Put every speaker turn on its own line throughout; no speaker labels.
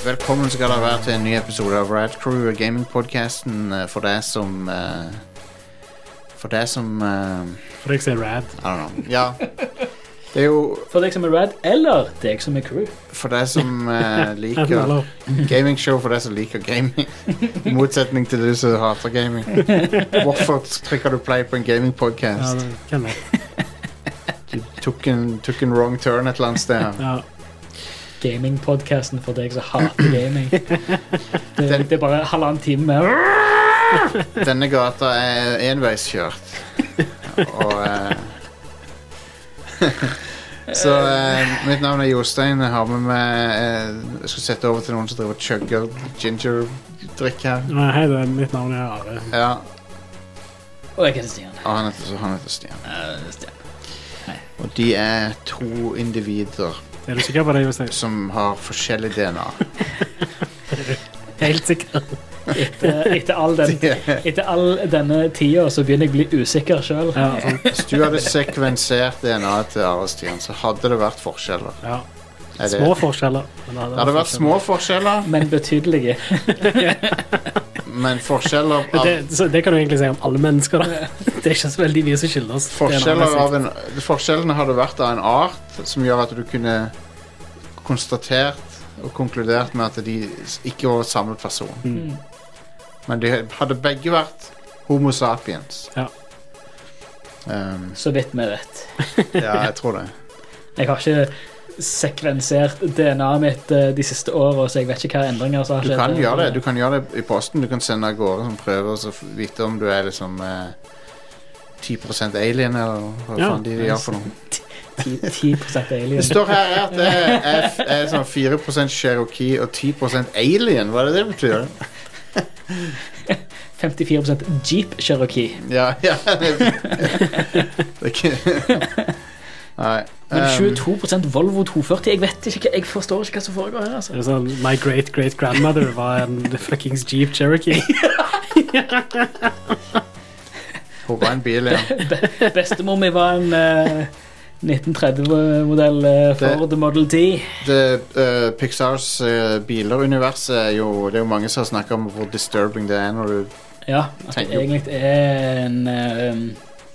skal det være til en ny episode av Rad Crew og gamingpodkasten eh, for deg som eh, For deg som eh,
For deg som er rad.
I don't know. Ja. Det er jo
For deg som er rad, eller deg som er crew.
for deg som eh,
Enten
liker
eller.
gamingshow, for deg som liker gaming. I motsetning til du som hater gaming. Hvorfor trykker du play på en
Ja,
gamingpodkast?
det kan være.
Tok en, tok en wrong turn et eller annet sted. her.
Ja.
Gamingpodkasten for deg som hater gaming. Det,
Den-
det er bare halvannen time med
Denne gata er enveiskjørt. Og eh, Så eh, mitt navn er Jostein. Jeg har med meg eh, Jeg skal sette over til noen som driver og chugger gingerdrikk her.
Nei, Hei, det er mitt navn er Are.
Ja,
Og jeg heter Stian.
Og han heter, han heter Stian.
Eh, Stian.
Og de er to individer
Er du sikker på det, Jostein?
som har forskjellig DNA.
Helt sikker.
Etter, etter, all den, etter all denne tida så begynner jeg å bli usikker sjøl.
Ja, sånn.
Hvis du hadde sekvensert DNA-et til Are Stian, så hadde det vært forskjeller.
ja.
Er det,
Små forskjeller. men
det hadde vært små forskjeller,
Men betydelige.
men forskjeller
Men
av
Det, så det kan du egentlig si om alle mennesker. da. Det er ikke så veldig mye som skiller oss.
Forskjeller
DNA-messig.
av en, forskjellene hadde vært av en art som gjør at du kunne konstatert og konkludert med at de s- ikke var samme person.
Mm.
Men de hadde begge vært Homo sapiens.
Ja.
Ehm,
Så vidt vi vet.
ja, jeg tror det.
Jeg har ikke sekvensert DNA-et mitt eh, de siste åra, så jeg vet ikke hva endringer som har
Du
skjedd.
kan gjøre det Du kan gjøre det i posten. Du kan sende av gårde som prøver og så f- vite om du er liksom eh, 10 alien, eller hva
Ja.
faen de gjør for noe.
10, 10 alien.
Det står her at det er, er, er sånn 4 cherokee og 10 alien. Hva er det det betyr?
54 Jeep Cherokee.
Ja, ja det, det er ikke Nei.
Men
ehm,
22 Volvo 240. Jeg vet ikke, jeg forstår ikke hva som foregår her.
Det
altså.
er sånn, My great great grandmother var en fuckings Jeep Cherokee.
hun var en bil, ja.
Bestemor mi var en eh, 1930-modell eh, Ford Model T.
Det, eh, Pixars eh, biler-univers er jo Det er jo mange som har snakka om hvor disturbing det er når du
Ja, at det
Tenk jo.
egentlig er en eh,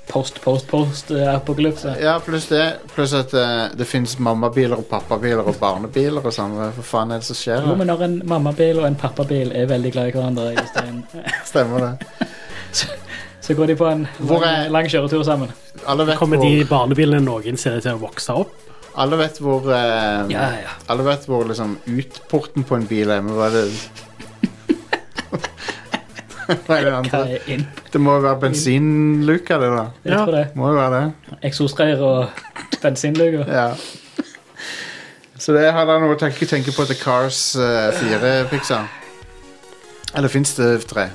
post, post, eh, post-apokalypse.
Ja, pluss det. Pluss at eh, det fins mammabiler og pappabiler og barnebiler og sånn. Hva faen er det som skjer?
Jo,
her?
men når en mammabil og en pappabil er veldig glad i hverandre, Jostein,
Stemmer det.
så går de på en
Hvor
lang,
er-
lang kjøretur sammen.
Alle vet
Kommer
hvor,
de barnebilene noensinne til å vokse opp?
alle vet hvor, eh,
Ja, ja.
alle vet hvor liksom utporten på en bil er, men hva er det Hva er det
Hva
andre?
er inn?
Det må jo være bensinluka, det da.
Jeg
Ja.
tror det.
Må jo være det.
Eksosrør og bensinluker.
Ja. Så det har dere noe å tenke, tenke på til Cars eh, 4, Pixar. Eller fins det tre?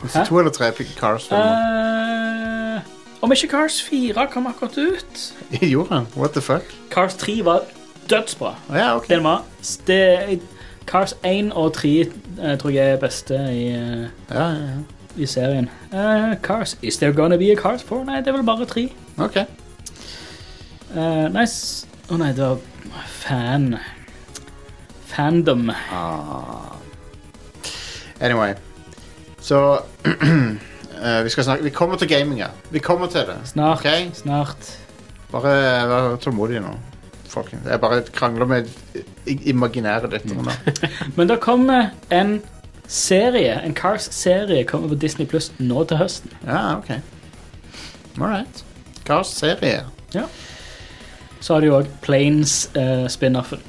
Fins det
Hæ?
to eller tre Pi- Cars-filmer?
Eh, om ikke Cars 4 kom akkurat ut
Gjorde han? What the fuck?
Cars 3 var dødsbra.
Å ja, ok.
Den var det, Cars 1 og 3 eh, tror jeg er beste i, eh,
Ja, ja, ja.
i serien. Eh, Cars Is there gonna be a Cars 4? Nei, det er vel bare 3.
Ok.
Eh, nice. Å nei, det var fan Fandom.
Ah. Anyway. Så eh, Vi skal snakke Vi kommer til gaminga. Vi kommer til det.
Snart.
Ok.
Snart.
Bare vær tålmodige nå. Folkens. Jeg bare krangler med i- imaginære døtre.
Men det kommer en serie, en Cars-serie, kommer på Disney Pluss nå til høsten.
Ja, OK. All right. Cars serie.
Så har de òg Planes-spin-offen. eh,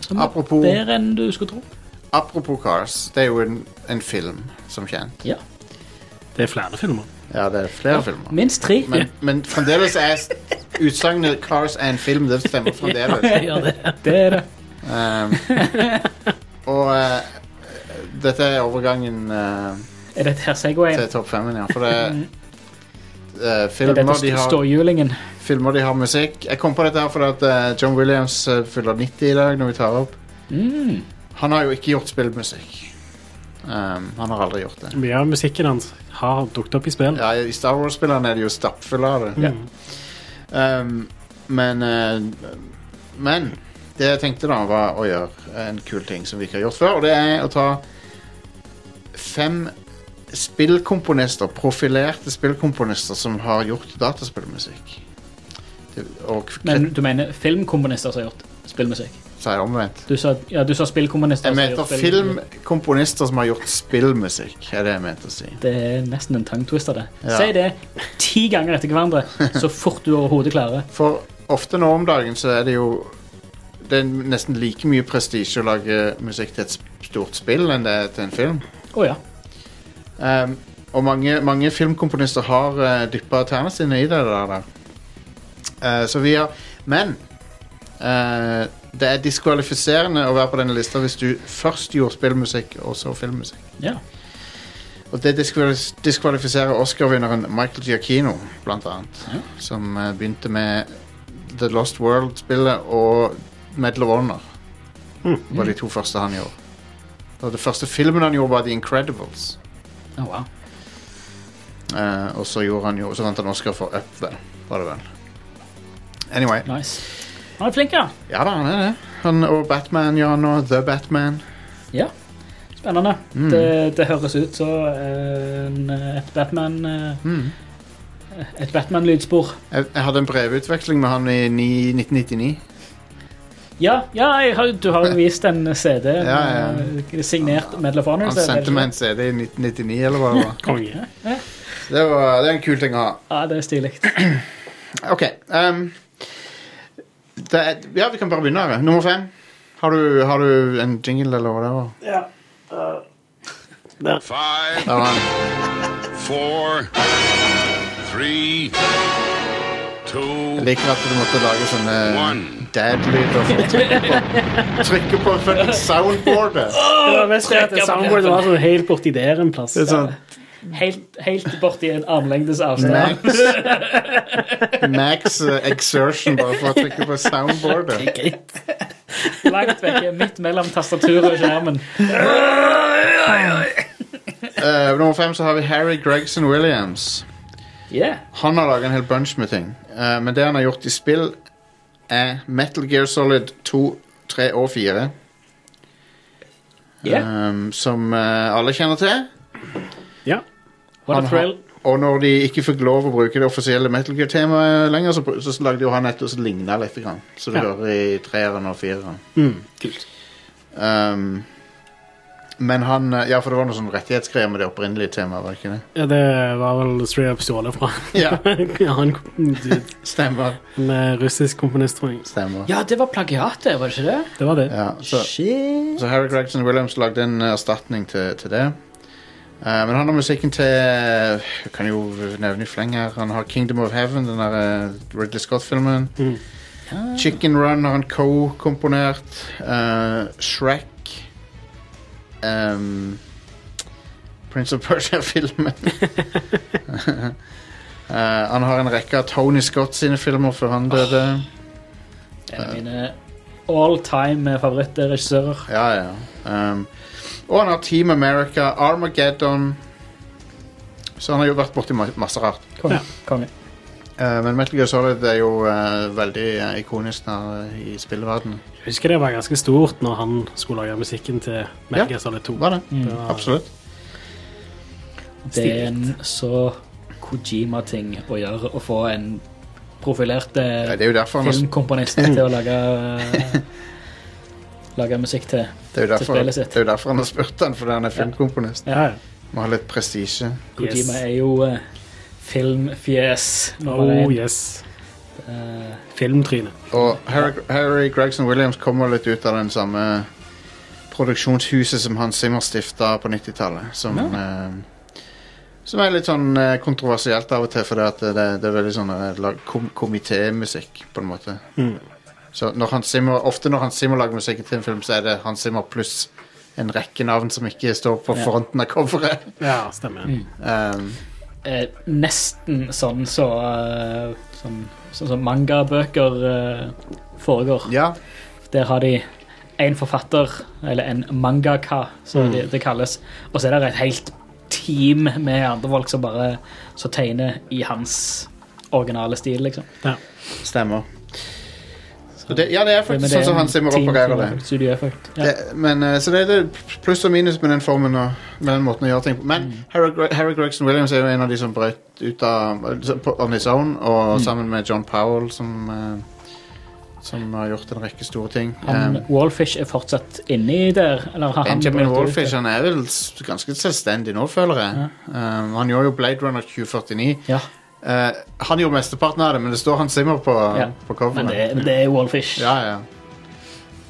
Som er
Apropos-
bedre enn du skulle tro.
Apropos Cars. Det er jo en, en film, som kjent.
Ja.
Det er flere filmer.
Ja, det er flere filmer.
Minst tre.
Men, men fremdeles er s- utsagnet 'Cars er en film' det stemmer fremdeles.
Ja, det.
Det er det.
Um, og eh, dette er overgangen eh,
Er dette her Segwayen?
til topp femmen, ja. For det eh,
Er
filmer,
dette
de
st-
har,
ståhjulingen?
filmer de har musikk Jeg kom på dette her fordi at eh, John Williams eh, fyller 90 i dag når vi tar opp.
Mm.
Han har jo ikke gjort spillmusikk. Um, han har aldri gjort det.
Mye av musikken hans har dukket opp i spill.
Ja, I Star Wars-spillene er det jo stappfulle av det.
Mm.
Um, men eh, Men det jeg tenkte da, var å gjøre en kul ting som vi ikke har gjort før, og det er å ta fem spillkomponister, profilerte spillkomponister som har gjort dataspillmusikk. Det- Og
Men du mener filmkomponister som har gjort spillmusikk?
sier omvendt.
Du sa, ja, du sa spillkomponister
Jeg
som har
mente
Altså, gjort spill-
filmkomponister som har gjort spillmusikk, er det jeg mente å si.
Det er nesten en tangtwister, det.
Ja.
Si det ti ganger etter hverandre, så fort du overhodet klarer.
For ofte nå om dagen så er det jo Det er nesten like mye prestisje å lage musikk til et sp- stort spill enn det er til en film.
Å ja.
Ehm, og mange, mange filmkomponister har uh, dyppa tærne sine i det der. da. Eh, så vi har Men eh, det er diskvalifiserende å være på denne lista hvis du først gjorde spillmusikk og så filmmusikk.
ja.
Og det diskvalis- diskvalifiserer Oscar-vinneren Michael Giacchino, blant annet.
Ja.
Som eh, begynte med The Lost World-spillet og Medal of Honor.
Mm.
Det var de to første han gjorde. Og det første filmen han gjorde, var The Incredibles.
Å, wow.
Eh, og så gjorde han jo Så vant han Oscar for Up, vel. Var det vel. Anyway.
Nice. Han er flink, ja.
Ja da, han er det. Han og Batman gjør han nå. The Batman.
Spennende.
Mm.
Det, det høres ut som eh, en- et Batman eh,
Mm.
Et Batman-lydspor.
Jeg, jeg hadde en brevutveksling med han i ni- 1999.
Ja, ja jeg har, du har jo vist en CD
Ja, ja.
eh, signert Medal of Honor.
Han
så er det-
sendte meg en CD i 1999, eller hva det var.
Konge.
Det, var, det er en kul ting å ha.
Ja, det er stilig.
Ok. ehm, det er, ja, vi kan bare begynne. her. Nummer fem. Har du, har du en jingle eller hva det var?
Ja.
Five,
Der var den.
four, three,
Jeg
two,
liker at du måtte lage sånn, eh, sånne
One.
dad-lyder for å trykke på, trykke på fucking eh. soundboardet.
Det var mest det at
Trekker på
soundboardet
knappen.
var sånn helt borti der en plass.
Det er sånn
Helt, helt borti en armlengdes avstand.
max, max eh, exertion bare for å trykke på eh. soundboardet.
Greit.
Langt vekke, midt mellom tastaturet og skjermen.
Eh, nummer fem så har vi Harry Gregson Williams.
Yeah.
Han har laget en hel bunch med ting. Eh, men det han har gjort i spill, er Metal Gear Solid 2, 3 og 4.
Yeah.
Ehm, som eh, alle kjenner til.
Ja.
What
Han
a
har-
thrill.
Og når de ikke fikk lov å bruke det offisielle Metal Gear-temaet lenger, så, br- så lagde jo han et som ligna litt. Grann. Så det
Ja.
hører i treeren og fireren.
Mm, kult.
Ehm, men han eh, Ja, for det var noe sånn rettighetsgreier med det opprinnelige temaet, var det ikke det?
Ja, det var vel straight up stjålet fra
Ja,
han dude,
stemmer.
en eh, russisk komponist, tror jeg.
Stemmer.
Ja, det var plagiat, det, var det ikke det?
Det var det.
Ja, så,
Shit.
Så Harry Gregson Williams lagde en eh, erstatning til, til det. Eh, men han har musikken til Jeg kan jo nevne i fleng her. Han har Kingdom of Heaven, den der eh, Ridley Scott-filmen.
Mm.
Ja.
Chicken Run har han co-komponert. Eh, Shrek. Ehm, Prince of Persia-filmen. Eh, han har en rekke av Tony Scott sine filmer før han døde.
En av mine all time favorittregissører.
Ja, ja. Ehm, og han har Team America, Armageddon Så han har jo vært borti ma- masse rart.
Konge.
Ja.
Konge.
Eh, men Metal Gear Solid er jo eh, veldig eh, ikonisk her eh, i spilleverdenen.
Jeg husker det var ganske stort når han skulle lage musikken til Metal Gear Solid 2.
Var det?
Det var-
Absolutt.
Det er en så Kojima-ting å gjøre, å få en profilert eh,
Ja, det er jo derfor han har,
filmkomponist til å lage eh, Lage musikk til.
det er jo derfor,
spillet sitt.
det er jo derfor han har spurt han, fordi han er filmkomponist.
Ja, ja.
Må ha litt prestisje.
Kojima
Yes.
er jo eh, filmfjes nummer
Oh
én.
yes.
Eh,
Filmtryne.
Og Harry, Harry Gregson Williams kommer litt ut av den samme produksjonshuset som Hans Zimmer stifta på 90-tallet. Som, eh, som er litt sånn eh, kontroversielt av og til, for det, det, det er veldig sånn eh, lag- kom komitémusikk, på en måte.
Mm.
Så når Hans Zimmer, ofte når Hans Zimmer lager musikk til en film, så er det Hans Zimmer pluss en rekke navn som ikke står på
Ja.
fronten av coveret.
Ja, stemmer.
Mm.
Um,
eh, nesten sånn så eh, Sånn sånn som mangabøker eh, foregår.
ja.
Der har de en forfatter, eller en mangaka, som
Mm.
det, det kalles. Og så er det et helt team med andre folk som bare som tegner i hans originale stil, liksom.
Stemmer. Så det, ja, det er
Men
faktisk
det
sånn som
en
Hans Zimmer
team
opererer
som
det.
har fulgt Studio Effect. Ja.
det men, eh, så det er det pluss og minus med den formen og med den måten å gjøre ting på. Men
Mm.
Harry, Gre- Harry Gregson Williams er jo en av de som brøt ut av eh, på- On His Own, og
Mm.
sammen med John Powell, som, eh, som har gjort en rekke store ting.
Han,
Eh,
Wallfish er fortsatt inni der? Eller har han
Benjamin
brøt ut det?
Wallfish han er vel s- ganske selvstendig nå, føler jeg. Eh, han gjorde jo Blade Runner 2049.
Ja,
Eh, han gjorde mesteparten av det, men det står Hans Zimmer på,
Ja,
på coveret.
men det, men det er Wallfish.
Ja, ja.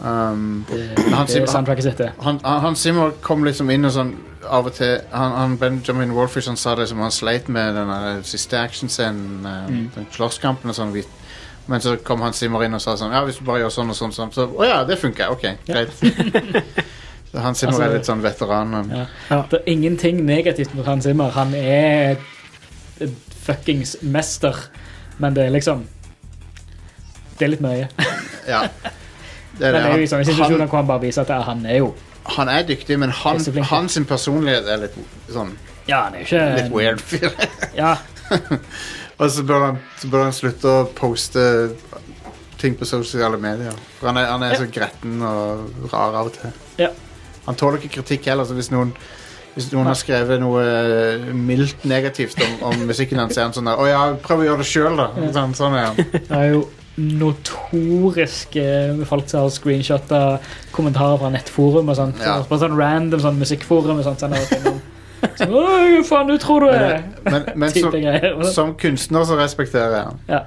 Um,
Det,
han
det
sier-
er soundtracket sitt, det.
han, han han Zimmer kom liksom inn og sånn av og til Han, han Benjamin Wolfish han sa det som han sleit med den der siste actionscenen, eh, den slåsskampen og sånn. vi- Men så kom han Zimmer inn og sa sånn Ja, hvis du bare gjør sånn og sånn, sånn så Å ja, det funker. Ok, greit. Så han Zimmer
Altså-
er litt sånn veteran. Og,
Ja. Det er ingenting negativt mot Hans Zimmer. Han er et fuckings mester, men det er liksom Det er litt mye.
ja. Det er
Men
det.
det er jo i sånne
Han,
situasjoner
han,
hvor han bare viser at ja, han er jo
han er dyktig, men han,
Ikke så flink, ja.
hans personlighet er litt sånn
Ja, han er jo ikke
litt weird fyr.
Ja,
Og så bør, han, så bør han slutte å poste ting på sosiale medier. For han er, han er så gretten og rar av og til.
Ja.
Han tåler ikke kritikk heller, så hvis noen, hvis noen har skrevet noe eh, mildt negativt om, om musikken hans, er han sånn der Å ja, prøv å gjøre det sjøl, da. Sånn, sånn er han.
det er jo notoriske folk som har screenshotta kommentarer fra nettforum og sånt.
Ja.
På sånn random sånn musikkforum og sånt. Sånn, og sånn, sånn, Åh, hva faen du tror du er?
Men, men, men
Type
som,
greier.
som kunstner så respekterer jeg han.
Ja.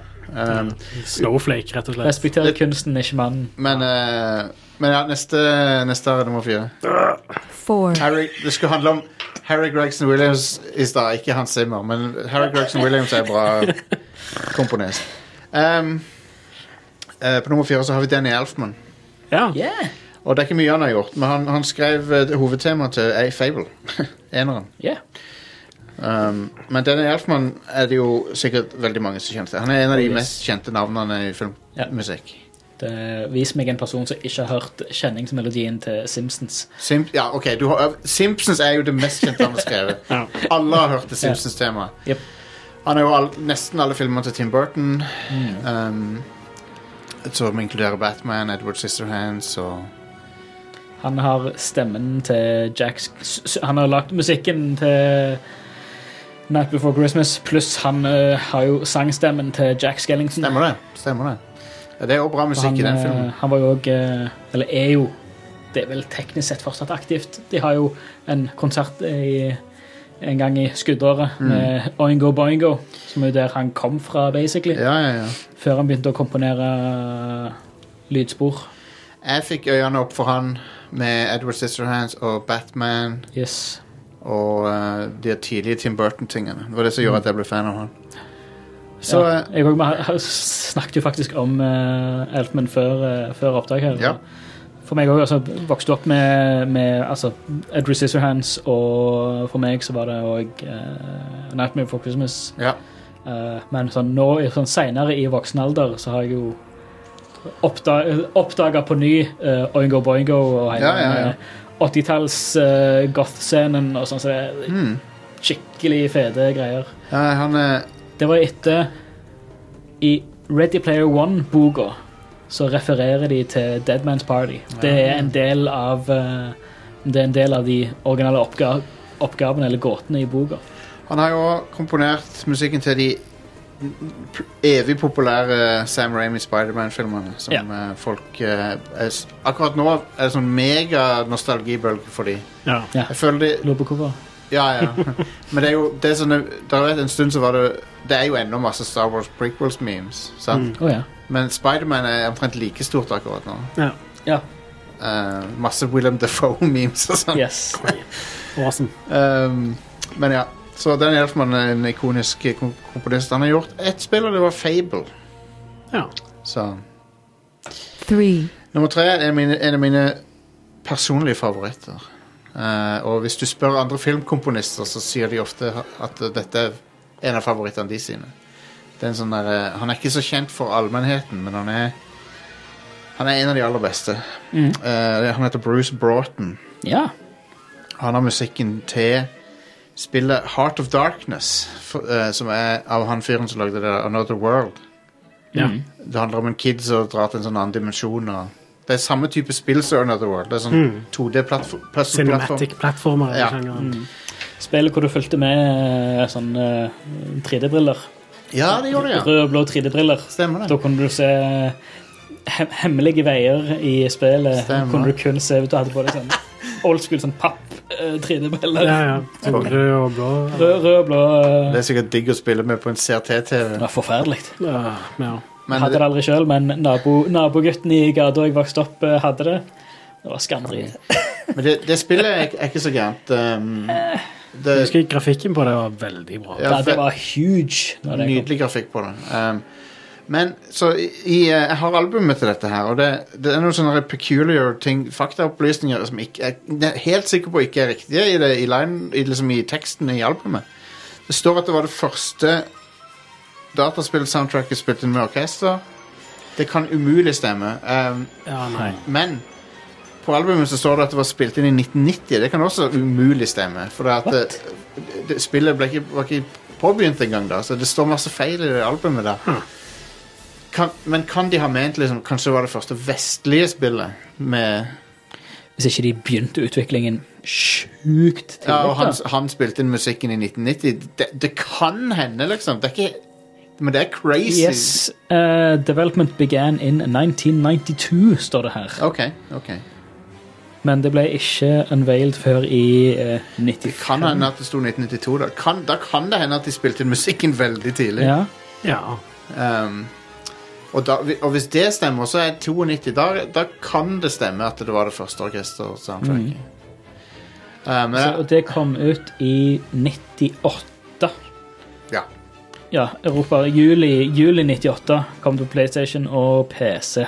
Um,
Snowflake, rett og slett.
Respekterer kunsten, ikke mannen.
men, eh, men ja, neste, neste er nummer fire.
four,
Harry, det skulle handle om Harry Gregson Williams i stad, ikke Hans Zimmer. Men Harry Gregson Williams er bra komponist. Ehm, eh, på nummer fire så har vi Danny Elfman.
Ja.
Yeah.
Og det er ikke mye han har gjort, men han, han skrev eh, hovedtemaet til A Fable. Eneren.
Yeah.
Ehm, men Danny Elfman er det jo sikkert veldig mange som kjente. Han er en av de
Yes.
mest kjente navnene i filmmusikk.
Det, eh, vis meg en person som ikke har hørt kjenningsmelodien til Simpsons.
Simp ja, ok, du har, Simpsons er jo det mest kjente han har skrevet.
Ja.
Alle har hørt det Simpsons-temaet.
Jep.
Han har jo all, nesten alle filmene til Tim Burton. Um, som inkluderer Batman, Edward Sisterhands og
Han har stemmen til Jack Sk- s- s- Han har lagt musikken til Night Before Christmas, pluss han eh, har jo sangstemmen til Jack Skellington.
Stemmer det? stemmer Det Ja, Det er jo bra musikk
han,
i den
eh,
filmen.
Han var jo òg Eller er jo Det er vel teknisk sett fortsatt aktivt. De har jo en konsert i, en gang i
Mm.
skuddåret med Oingo Boingo, som er jo der han kom fra, basically.
Ja, ja, ja.
Før han begynte å komponere lydspor.
Jeg fikk øynene opp for han med Edward Sisterhands og Batman
Yes.
og eh, de tidlige Tim Burton-tingene. Det var det som gjorde at jeg ble fan av han. Så
ja.
eh,
Jeg og meg har- snakket jo faktisk om eh, Elfman før, eh, før opptak her.
Ja.
For meg òg. Altså, vokste opp med, med altså, Edward Scissorhands, og for meg så var det òg eh, Nightmare Before Christmas.
ja.
Eh, men sånn, nå, i- sånn seinere i voksen alder så har jeg jo oppdaga på ny eh, Oingo Boingo og hele
Ja, ja, ja.
den, eh, 80-talls eh, goth-scenen og sånn. Så det er
Mm.
skikkelig fete greier.
ja han eh, er
Det var etter I Ready Player One-boka så refererer de til Dead Man's Party. Det er en del av eh, Det er en del av de originale oppga oppgavene eller gåtene i boka.
Han har jo også komponert musikken til de p- evig populære Sam Raimi Spiderman-filmene. Som eh, folk eh, er, s- Akkurat nå er det sånn mega nostalgibølge for de.
ja.
Jeg føler de
Lurer på hvorfor.
Ja, ja. Men det er jo det er sånne, der er en stund så var det Det er jo ennå masse Star Wars prequels-memes. sant?
Å ja.
Men Spiderman er omtrent like stort akkurat nå.
ja.
ja.
Eh, masse William Defoe-memes og sånn.
Yes.
Awesome.
Ehm, men ja, så den Elfman er en ikonisk kom- komponist. Han har gjort ett spill, og det var Fable.
Ja.
Mm. Så.
three,
Nummer tre er mine, en av mine personlige favoritter. Eh, og hvis du spør andre filmkomponister, så sier de ofte at dette er en av favorittene de sine. Det er en sånn der, eh, han er ikke så kjent for allmennheten, men han er han er en av de aller beste. Eh, han heter Bruce Broughton.
Ja.
Han har musikken til spillet Heart of Darkness, for, eh, som er av han fyren som lagde det der Another World.
Ja.
Mm.
Det handler om en kid som drar til en sånn annen dimensjon. Og det er samme type spill som Anotherworld. Det er sånn 2D-puzzle-plattform.
Cinematic-plattformer.
Ja. Mm.
Spillet hvor du fulgte med eh, sånn eh, 3D-briller.
Ja, det gjør det, ja.
Rød og blå 3D-briller.
Stemmer
Da
det.
kunne du se eh, he hemmelige veier i spillet.
Stemmer.
Kunne du kun se ut du hadde på deg sånn old school sånn papp-3D-briller.
Ja, ja. Så Rød og blå.
Rød, rød og blå. eh,
Det er sikkert digg å spille med på en CRT-TV.
Det var forferdelig.
Ja, ja.
Men
hadde
det,
det aldri sjøl, men nabo, nabogutten i gata jeg vokste opp, eh, hadde det. Det var skamdrit.
men det, det spillet er, ikke- er ikke så gærent. Um,
Jeg
det,
husker grafikken på det var veldig bra.
Ja,
Ja,
for-
det var huge. Når det kom.
Nydelig grafikk på det. Um, men så i, i, eh, Jeg har albumet til dette her, og det, det er noen sånne peculiar ting, faktaopplysninger som ikke, jeg er helt sikker på ikke er riktige i, det, i, line, i, liksom i teksten i albumet. Det står at det var det første dataspill-soundtracket spilt inn med orkester. Det kan umulig stemme. Um,
Ja, nei.
men på albumet så står det at det var spilt inn i 1990. Det kan også umulig stemme. For det at det, det, spillet ble ikke, var ikke påbegynt engang da, så det står masse feil i det albumet der. Kan, men kan de ha ment liksom, kanskje det var det første vestlige spillet med
Hvis ikke de begynte utviklingen sjukt tidlig.
ja, Og han,
da.
han spilte inn musikken i 1990. Det, det kan hende, liksom. Det er ikke Men det er crazy.
Yes, eh, development began in 1992, står det her.
OK. ok
Men det ble ikke unveiled før i eh,
Det kan
95.
hende at det sto 1992. Da kan, da kan det hende at de spilte inn musikken veldig tidlig.
Ja.
Ja.
Um, og, da, og hvis det stemmer, så er 92 da, da kan det stemme at det var det første orkester-soundtracket. Uh, men
Så, og det kom ut i 98.
ja.
Ja, Europa. Juli, juli 98 kom det på PlayStation og PC.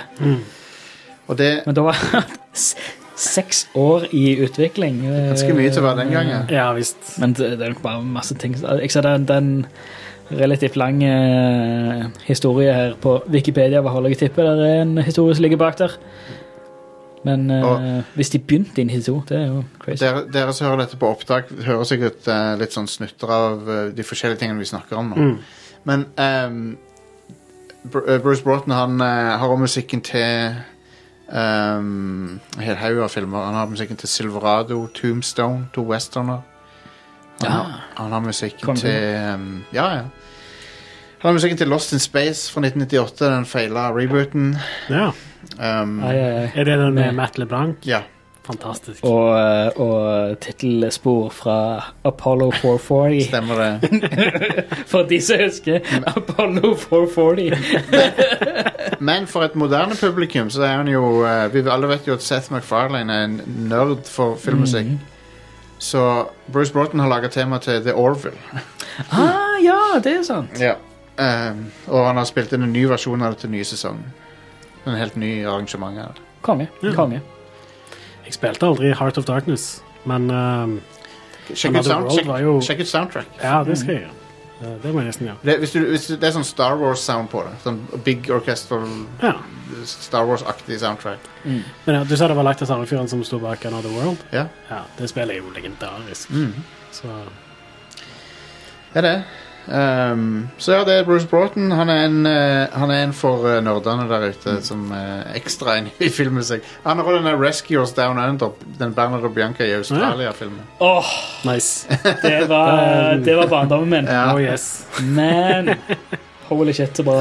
Og det
Men da var s- seks år i utvikling. eh,
ganske mye til å være den gangen.
ja visst.
Men det, det er nok bare masse ting Jeg ser den, den relativt lang eh, historie her på Wikipedia. Hva holder jeg tippe? Det er en historie som ligger bak der. Men eh,
Og-
hvis de begynte i 92, det er jo crazy.
Dere, dere som hører dette på opptak, hører sikkert eh, litt sånn snutter av eh, de forskjellige tingene vi snakker om nå.
Mm.
Men ehm, Br- eh, Bruce Broughton han eh, har også musikken til ehm, En hel haug av filmer. Han har musikken til Silverado, Tombstone, To Westerner. Han, har, han har musikken
Kongen.
til ehm, Ja, ja. Han har musikken til Lost in Space fra 1998, den feila rebooten.
Ja.
Ehm,
Ai, ai, ai.
Er det den med Matt LeBlanc?
ja.
Fantastisk.
Og, eh, og tittelspor fra Apollo 440.
Stemmer det.
For de som husker Apollo 440.
Men for et moderne publikum så er han jo eh, Vi alle vet jo at Seth MacFarlane er en nerd for filmmusikk.
Mhm.
Så Bruce Broughton har laga tema til The Orville.
Ah, ja, det er sant.
Ja. Ehm, og han har spilt inn en ny versjon av det til nye sesong. En helt ny arrangement her.
Konge. konge.
Jeg spilte aldri Heart of Darkness, men ehm,
Sjekk ut,
Another
sound,
World
sjekk,
var jo-
sjekk ut soundtrack.
ja, det skal jeg gjøre. Eh, Det må jeg nesten gjøre.
Det, hvis du, hvis du, det er sånn Star Wars-sound på det. Sånn Big orchestral,
Ja.
Star Wars-aktig soundtrack.
Mm.
Men ja, du sa det var lagt av samme fyren som sto bak Another World?
Ja,
Ja, det spillet er jo legendarisk. Så
det er det. Ehm, så ja, det er Bruce Broughton. Han er en, eh, han er en for eh, nerdene der ute som er ekstra inn i filmmusikk. Han har også denne Rescue Us Down Under, den Bernard og Bianca i Australia-filmen.
Åh,
nice.
det var, det var barndommen min.
Ja.
Oh yes.
Men holy shit, så bra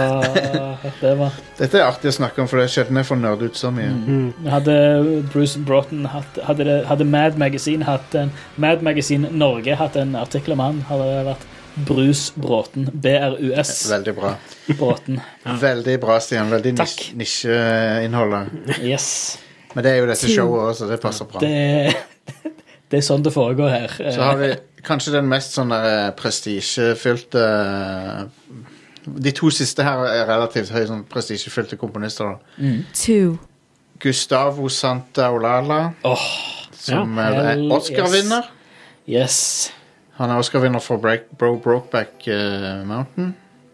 det var.
Dette er artig å snakke om, for det er sjelden jeg får nerd ut så mye.
Hadde Bruce Broughton hatt Hadde, det, hadde Mad Magazine hatt en Mad Magazine Norge hatt en artikkel om han, hadde det vært Bruce Bråten. BRUS
Veldig bra.
Bråten.
Veldig bra, Stian. Veldig
Takk.
nisj- nisjeinnholdet.
Yes.
Men det er jo dette
Two.
showet også, det passer bra.
Det, det er sånn det foregår her.
Så har vi kanskje den mest sånn der, eh, prestisjefylte eh, De to siste her er relativt høye sånn prestisjefylte komponister. da.
two,
Gustavo Santaolala,
Åh,
som
Ja.
eh,
Hell
er Oscar-vinner.
yes.
Han er Oscar-vinner for Break, Bro Brokeback eh, Mountain.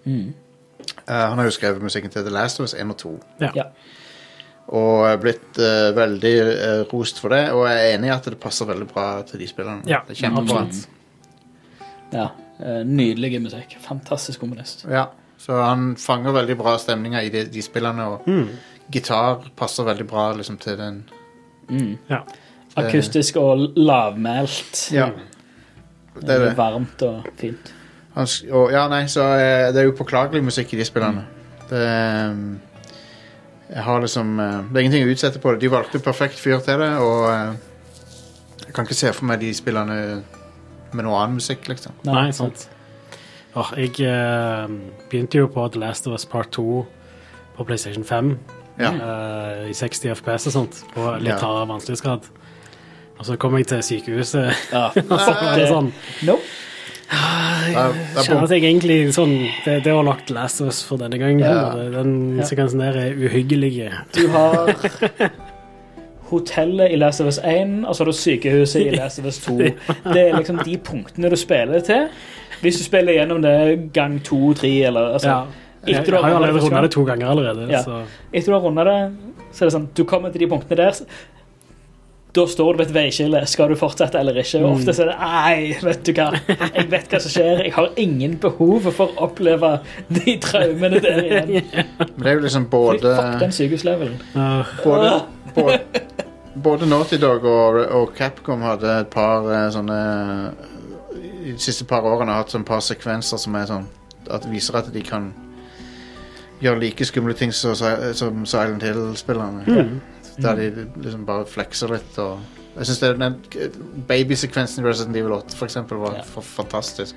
Eh, han har jo skrevet musikken til The Last of Us 1 og 2.
Ja.
Og er blitt eh, veldig eh, rost for det, og jeg er enig i at det passer veldig bra til de spillerne.
Ja,
det er kjempebra.
absolutt.
ja. eh, Nydelig musikk. Fantastisk komponist.
Ja. Så han fanger veldig bra stemninger i de, de spillene, og
Mm.
gitar passer veldig bra liksom, til den.
Mm.
Ja.
Akustisk og lavmælt.
Det er det.
Varmt og fint.
Han, sk- og, ja, nei, så eh, det er jo påklagelig musikk i de spillene. Det ehm, Jeg har liksom eh, Det er ingenting å utsette på det. De valgte perfekt fyr til det, og eh, jeg kan ikke se for meg de spillene med noe annen musikk, liksom.
Nei, sant. Åh, jeg eh, begynte jo på The Last of Us Part 2 på PlayStation 5
Ja.
eh, i 60 FPS og sånt, på litt
Ja.
hardere vanskelighetsgrad. Og så kom jeg til sykehuset,
Ja.
og så var det sånn
Nope.
Da, da
Jeg kjenner at jeg egentlig sånn Det, det var nok The Last of Us for denne gangen.
Ja.
og det- Den
Ja.
sekvensen der er uhyggelig.
Du har hotellet i Last of Us 1, og så har du sykehuset i Last of Us 2. Det er liksom de punktene du spiller til. Hvis du spiller gjennom det gang to, tre, eller altså,
Ja. Jeg,
Etter du
jeg har jo
har rundet det
allerede
første
rundet
gang.
det to ganger allerede,
Ja.
så
Etter du har runda det, så er det sånn Du kommer til de punktene der. så- Da står du ved et veiskille. Skal du fortsette eller ikke? Og ofte så er det Nei, vet du hva. Jeg vet hva som skjer. Jeg har ingen behov for å oppleve de traumene der igjen.
Men det er jo liksom
Fordi,
både
fuck den sykehuslevelen.
uh,
både, både, både Naughty Dog og, og Capcom hadde et par eh, sånne I de siste par årene har hatt sånn par sekvenser som er sånn at viser at de kan gjøre like skumle ting som, Si- som Silent Hill-spillerne. Der de liksom bare flekser litt og Jeg syns den babysekvensen i Resident Evil 8 for eksempel, var
Ja.
f- fantastisk.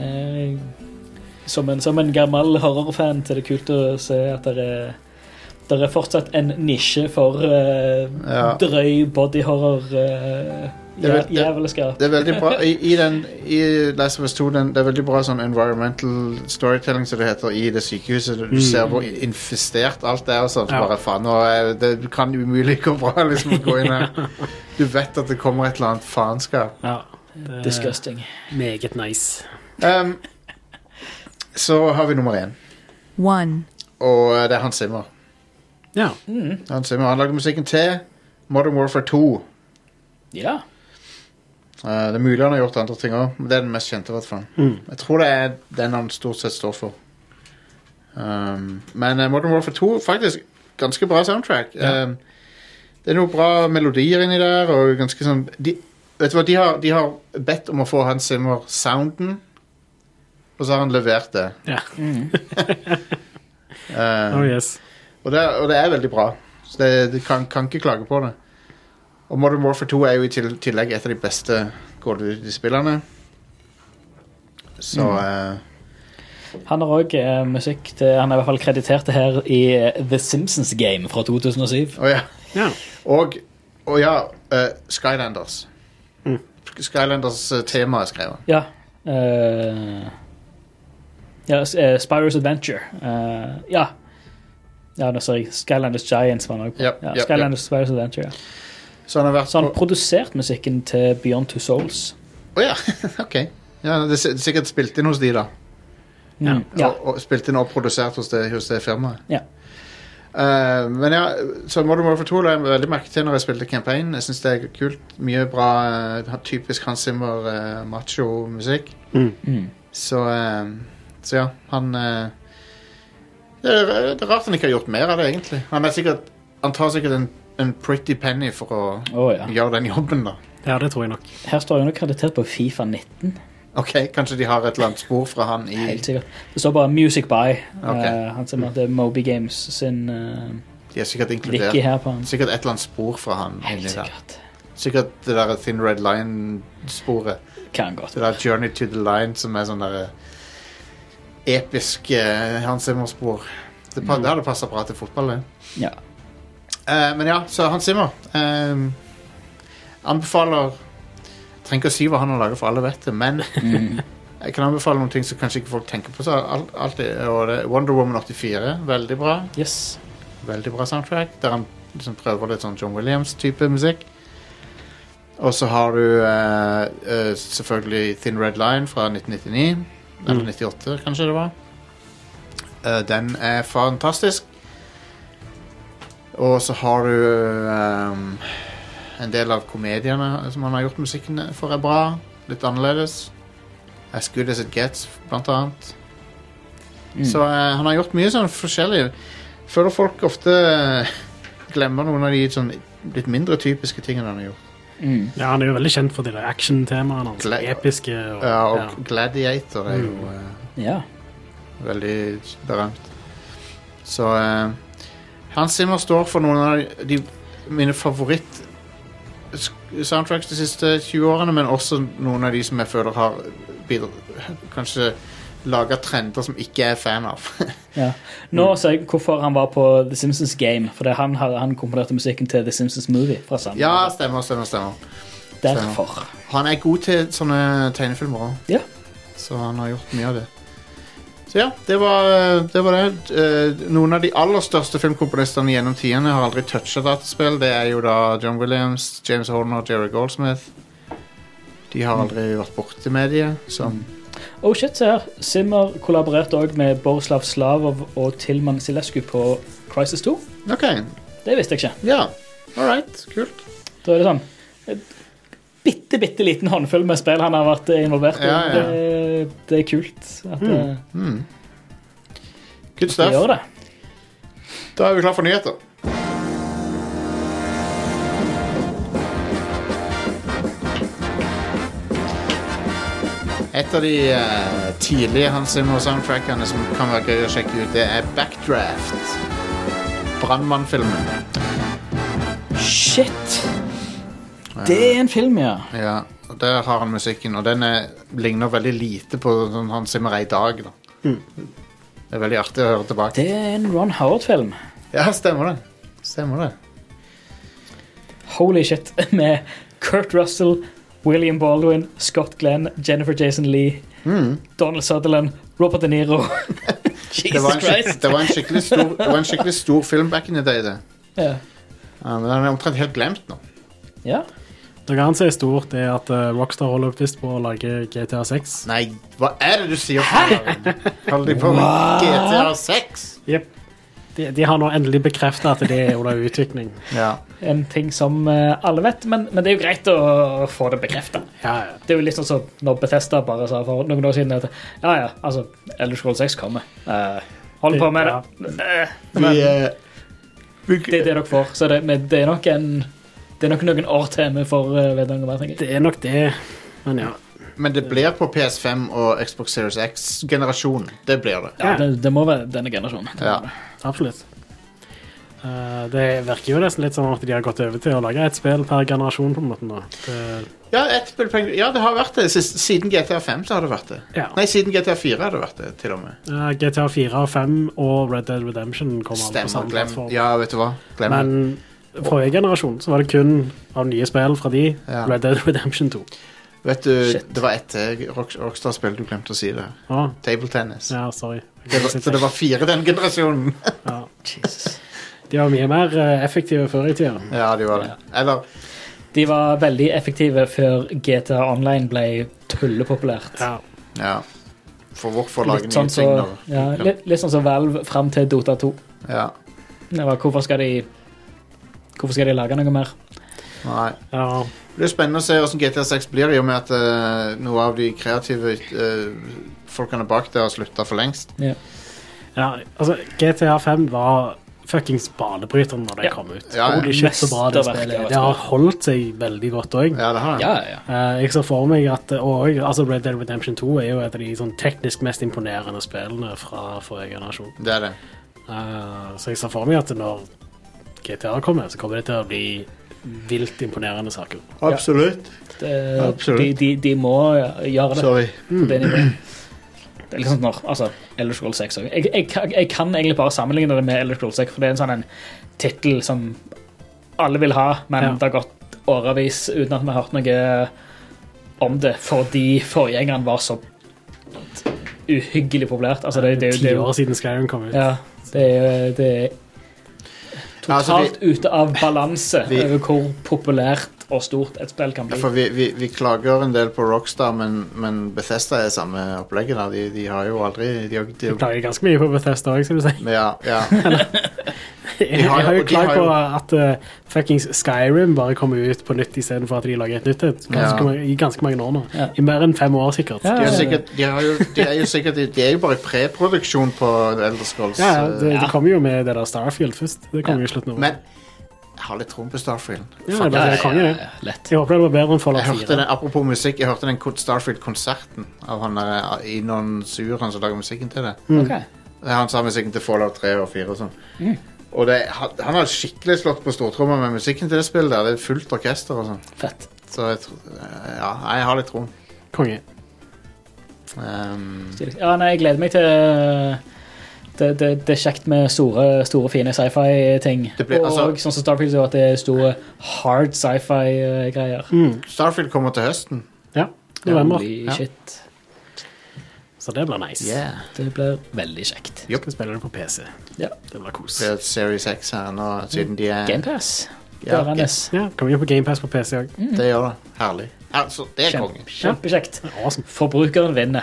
Eh, Som en, som en gammel horrorfan så er det kult å se at det er, der er fortsatt en nisje for eh,
Ja.
drøy bodyhorror. Uh,
Det er vel- det-
Jævelskap.
Det er veldig bra I, i, den, i Last of Us 2 den, Det er veldig bra sånn environmental storytelling Som det heter i det sykehuset Du
Mm.
ser hvor infestert alt er og sånt,
Ja.
Bare faen, nå er det det kan umulig gå bra liksom, å gå inn her Du vet at det kommer et eller annet faenskap
ja. er
Disgusting.
meget nice.
um, Så har vi nummer 1
one,
Og eh, det er Hans Zimmer
Ja.
Eh, mm,
Hans Zimmer, han lagde musikken til Modern Warfare 2
Ja.
Eh, Det er mulig han har gjort andre ting også Men det er den mest kjente i hvert fall
Mm.
Jeg tror det er den han stort sett står for. Um, men eh, Modern Warfare 2 faktisk ganske bra soundtrack. Um, det er noen bra melodier inni der. Og ganske sånn de, Vet du hva, de har, de har bedt om å få Hans Zimmer-sounden, og så har han levert det.
Ja.
Um,
Oh yes.
og, det og det er veldig bra. Så det, det kan, kan ikke klage på det. Og Modern Warfare 2 er jo i til- tillegg et av de beste Call of Duty-spillerne. Så eh,
Han har òg musikk til Han er i hvert fall kreditert til her i eh, The Simpsons Game fra 2007.
Å ja.
Ja.
Og, og ja, eh, Skylanders. Skylanders eh, tema er skrevet.
Ja. eh, ja s- eh, Spyro's Adventure. eh, ja. Ja, nå ser jeg Skylanders Giants var han òg på.
Ja,
ja,
ja,
Skylanders Spyro's Adventure, ja.
Så han har vært
Så han
på
produserte musikken til Beyond Two Souls.
Å ja, ok. Ja, det er si- sikkert spilt inn hos de, da.
Ja.
Mm, Ja.
Og, og spilt inn og produsert hos det, hos det firmaet.
Ja.
Eh, men ja, så Modern Warfare 2 la jeg veldig merke til når jeg spilte campaign. Jeg synes det er kult. Mye bra eh, typisk Hans Zimmer eh, macho-musikk.
Mm.
Så, eh, så ja, han eh, det, er, det er rart han ikke har gjort mer av det, egentlig. Han, er sikkert, han tar sikkert en, en pretty penny for å
Å, ja.
gjøre den jobben, da.
ja, det tror jeg nok.
Her står han jo kreditert på Fifa 19.
Ok, Kanskje de har et eller annet spor fra han i
Helt sikkert. Det står bare 'Music by'.
Ok.
Eh, han sier at det er Moby Games sin uh,
De er sikkert
Vicky
inkludert.
her på han.
Sikkert et eller annet spor fra han
Helt
inni der.
sikkert.
Sikkert det der Thin Red Line-sporet.
Kan godt.
Det der Journey to the Line som er sånn der eh, episk eh, Hans Zimmer-spor. Det, pa- det hadde passa bra til fotball, det.
Ja.
Eh, men ja, så Hans Zimmer eh, anbefaler Trenger ikke å si hva han har laget, for alle vet det, men Mm. jeg kan anbefale noen ting som kanskje ikke folk tenker på så al- alltid. Og det er Wonder Woman 84, veldig bra.
Yes.
Veldig bra soundtrack, der han liksom prøver litt sånn John Williams-type musikk. Og så har du eh, eh, selvfølgelig Thin Red Line fra 1999. Eller 98, kanskje det var. Eh, den er fantastisk. Og så har du ehm, en del av komediene som han har gjort musikken for, er bra. Litt annerledes. As Good As It Gets, blant annet.
Mm.
Så eh, han har gjort mye sånn forskjellig. Føler folk ofte eh, glemmer noen av de sånn litt mindre typiske tingene han har gjort.
Mm.
Ja, han er jo veldig kjent for de der action-temaene hans.
Gle-
Episke og,
Ja, og
ja.
Gladiator er jo eh,
Ja.
veldig berømt. Så eh, Hans Zimmer står for noen av de, mine favoritt-soundtracks de siste 20 årene, men også noen av de som jeg føler har bidra- kanskje laga trender som ikke jeg er fan av.
Ja. Nå
Mm.
ser jeg hvorfor han var på The Simpsons Game. For det er han, hadde- han komponerte musikken til The Simpsons Movie. fra samme
ja,
år.
stemmer, stemmer, stemmer.
Derfor.
Han er god til sånne tegnefilmer òg.
Ja.
Så han har gjort mye av det. Så ja, det var det. Var det. Eh, Noen av de aller største filmkomponistene gjennom tidene har aldri toucha dataspill. Det er jo da John Williams, James Horner og Jerry Goldsmith. De har aldri vært borti mediet. Som
Oh shit, se her. Zimmer kollaborerte òg med Borislav Slavov og Tilman Silescu på Crisis 2.
OK.
Det visste jeg ikke.
Ja. All right. Kult.
Da er det sånn et bitte, bitte liten håndfull med spill han har vært eh, involvert i.
Ja, ja.
Det, det er kult at eh,
Mm. Good
de
stuff.
gjør det.
Da er vi klar for nyheter. Et av de eh, tidlige Hans Zimmer-soundtrackene som kan være gøy å sjekke ut, det er Backdraft. Brannmannfilmen.
Shit! Det er en film, ja.
Ja, og der har han musikken, og den er, ligner veldig lite på sånn Hans Zimmer er i dag. Da. Det er veldig artig å høre tilbake.
Det er en Ron Howard-film.
Ja, stemmer det. Stemmer det.
Holy shit. Med Kurt Russell, William Baldwin, Scott Glenn, Jennifer Jason Lee,
Mm.
Donald Sutherland, Robert De Niro.
Det var,
Jesus
en skik-
Christ.
det, var en skikkelig stor, det var en skikkelig stor film back in the day, det.
Ja.
Ja, men den er omtrent helt glemt nå.
ja.
Noe annet som er stort, det er at eh, Rockstar holder først på å lage GTA 6.
Nei, hva er det du sier? Hæ? Holder de på med GTA 6?
Jep. De, de har nå endelig bekreftet at det er under utvikling.
Ja.
En ting som eh, alle vet, men, men det er jo greit å få det bekrefta.
Ja, ja.
Det er jo litt sånn som når Bethesda bare sa for noen år siden at ja, ja, altså, Elder Scrolls 6 kommer. Eh, hold på med det. Eh, men det er det dere får. Så det, men det er nok en det er nok noen år til vi får uh, vite noe mer. tenker jeg.
Det er nok det, men ja.
Men det blir på PS5 og Xbox Series X-generasjonen. Det blir det.
Ja, det, det må være denne generasjonen.
Ja.
Absolutt. Eh, det virker jo nesten litt som at de har gått over til å lage et spill per generasjon. på en måte nå. Det,
Ja, ett spill per- ja, det har vært det. Sist- Siden GTA 5 så har det vært det.
ja.
Nei, siden GTA 4 har det vært det, til og med.
Eh, GTA 4 og 5 og Red Dead Redemption kommer alle på
Stemmer.
samme
Glem.
plattform.
Ja, vet du hva. Glem det.
Men forrige generasjon så var det kun av nye spill fra de,
Ja.
Red Dead Redemption 2.
Vet du,
Shit.
det var ett til Rock- Rockstar-spill du glemte å si det.
Å,
Table tennis.
ja, sorry.
Det var, så det var fire den generasjonen.
ja. De var mye mer eh, effektive før i tida.
Ja, de var det. Eller
De var veldig effektive før GTA Online ble tullepopulært.
Ja.
Ja. For hvorfor lage
Litt
nye ting
sånn som
når
ja, litt, litt sånn som Valve fram til Dota 2.
Ja.
Det var, hvorfor skal de Hvorfor skal de lage noe mer?
Nei.
ja.
Det blir spennende å se hvordan GTA6 blir, i og med at eh, noe av de kreative eh, folkene bak der har slutta for lengst.
ja altså, GTA 5 var fuckings banebryteren når det
Ja.
kom ut.
Ja, ja.
Holy shit, så bra det
Mesterverk
spillet
av
er.
et
Det har holdt seg veldig godt òg.
Ja, det har jeg.
Mm. ja.
jeg ser for meg at og, altså Red Dead Redemption 2 er jo et av de sånn, teknisk mest imponerende spillene fra forrige generasjon.
Det er det.
Eh, så jeg ser for meg at når GTA kommer, så kommer det til å bli vilt imponerende saker.
Absolutt.
Det,
Absolutt.
de, de, de må gjøre det.
Sorry.
Det er
Mm.
nivå. Det er liksom når, altså, Elder Scrolls 6 også. jeg, jeg, kan- jeg kan egentlig bare sammenligne det med Elder Scrolls 6, for det er en sånn en tittel som alle vil ha, men
Ja.
det har gått årevis uten at vi har hørt noe om det, fordi forgjengeren var så uhyggelig populært. Altså, det, det, det,
Ti
det,
år siden Skyrim kom ut.
ja, det, er- det er
Ja, altså,
totalt ute av balanse
Vi-
over hvor populært og stort et spill kan
Ja,
bli.
for vi, vi, vi klager en del på Rockstar, men, men Bethesda er samme opplegget. da. De, de har jo aldri de har, de,
Jeg klager ganske mye på Bethesda òg, skal du si.
Men ja, ja.
Jeg,
har jo-
har jo
de
klagd
har
på
jo-
at eh, fuckings Skyrim bare kommer ut på nytt istedenfor at de lager et nytt et. Ganske,
Ja.
ma- I ganske mange år nå.
Ja.
I mer enn fem år, sikkert.
Ja.
De, har sikkert, de, har jo, de er jo sikkert De er jo bare i preproduksjon på Elder Scrolls.
Ja, ja,
eh,
det,
Ja.
det kommer jo med det der Starfield først. Det
Ja.
kommer jo i slutten av
Men
året.
jeg har litt troen på Starfield.
Ja, det er bare konge, det.
Lett.
Jeg håper det var bedre enn
Jeg
Fallout
hørte
4.
den, apropos musikk, jeg hørte den kon- Starfield-konserten av han der eh, Inon Sur, han som lager musikken til det.
Mm.
Ok.
Det er Han som har musikken til Fallout 3 og 4 og sånn.
Mm.
Og det, han han har skikkelig slått på stortromma med musikken til det spillet. der. Det er fullt orkester og sånn.
Fett.
Så jeg, tro- eh, ja, jeg har litt troen.
Konge.
Ehm,
Stilig. Ja, nei, jeg gleder meg til det, det, det er kjekt med store, store fine sci-fi-ting.
Det blir-
og
altså-
sånn som Starfield, så at det er store hard sci-fi-greier.
Mm.
Starfield kommer til høsten.
Ja. November.
Holy
Ja.
shit.
Så det blir nice.
Det blir veldig kjekt.
Yep.
Skal spille det på PC.
Ja.
Det blir kos.
Det er Series X her nå, siden de er
Gamepass.
Ja,
det er
Ga-
Nes.
Ja, kommer jo på GamePass på PC òg.
Mm.
Det gjør det. Herlig. Altså, det er konge.
Kjempe, kjempekjekt.
Awesome.
Forbrukeren vinner.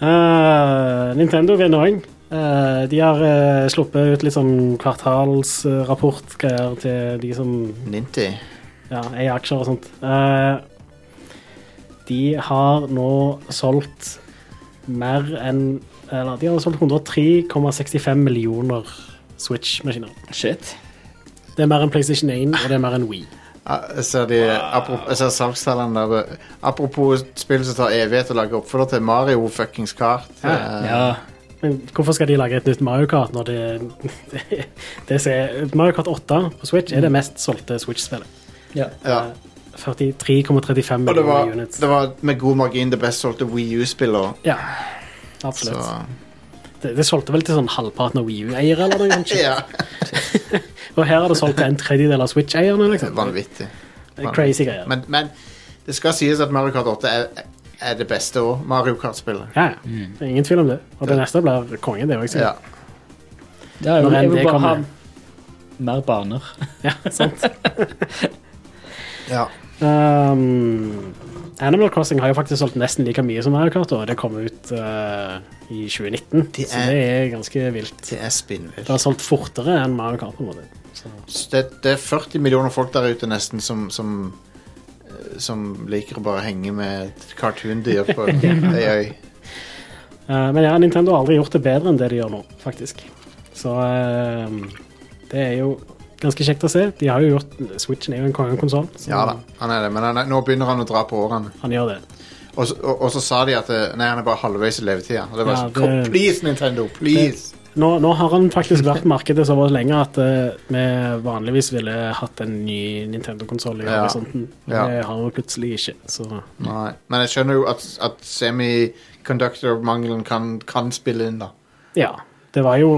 Eh, Nintendo vinner òg. Eh, de har eh, sluppet ut litt sånn kvartalsrapportgreier til de som
Ninty.
ja, eier aksjer og sånt. Eh, de har nå solgt mer enn Eller de har solgt 103,65 millioner Switch-maskiner.
Shit.
Det er mer enn PlayStation 1, og det er mer enn Wii.
Ah, Jeg ser, de, apropos, jeg ser salgstallene der. Apropos spill som tar evighet å lage oppfølger til Mario fuckings Kart. Eh,
Ja.
Men hvorfor skal de lage et nytt Mario Kart når det, det, ser, Mario Kart 8 på Switch er det mest solgte Switch-spillet. Eh,
ja.
Mm. ja.
43,35
Og det var,
millioner units.
det var med god margin det best solgte Wii U-spiller.
Ja,
Så
absolutt. Det, det solgte vel til sånn halvparten av Wii U-eiere eller noe sånt.
ja,
Og her er det solgt til en tredjedel av Switch-eierne. liksom.
vanvittig.
Det er Crazy greier.
Men, men det skal sies at Mario Kart 8 er, er det beste òg. Mario Kart-spillet.
ja, ja.
Mm.
Det er Ingen tvil om det. Og det neste blir konge, det òg.
Ja.
Ja.
ja jeg,
Når
vil, jeg
enn
vil
det
bare ha
kommer.
mer baner.
ja, sant.
Ja.
Um, Animal Crossing har jo faktisk solgt nesten like mye som Mario Kart, og det kom ut eh, i 2019,
De
så
er-
det er ganske vilt.
Det er spinnvilt.
Det har solgt fortere enn Mario Kart. på en måte.
Så det, det er 40 millioner folk der ute nesten som, som, eh, som liker å bare henge med et cartoon-dyr på ei øy.
Eh, men ja, Nintendo har aldri gjort det bedre enn det de gjør nå, faktisk. Så eh, det er jo ganske kjekt å se. De har jo gjort, Switchen er jo en kongekonsoll, så
Ja da, han er det, men han er, nå begynner han å dra på årene.
han gjør det.
Og, så- og, og så sa de at eh, nei, han er bare halvveis i levetida. Og det var
Ja,
sånn, kom,
det-
Please, Nintendo! Please!
Nå, nå har han faktisk vært i markedet såpass lenge at eh, vi vanligvis ville hatt en ny Nintendo-konsoll i
Ja.
horisonten. Men
Ja.
det har vi plutselig ikke, så
Nei. Men jeg skjønner jo at, at semiconductor-mangelen kan, kan spille inn, da.
ja. Det var jo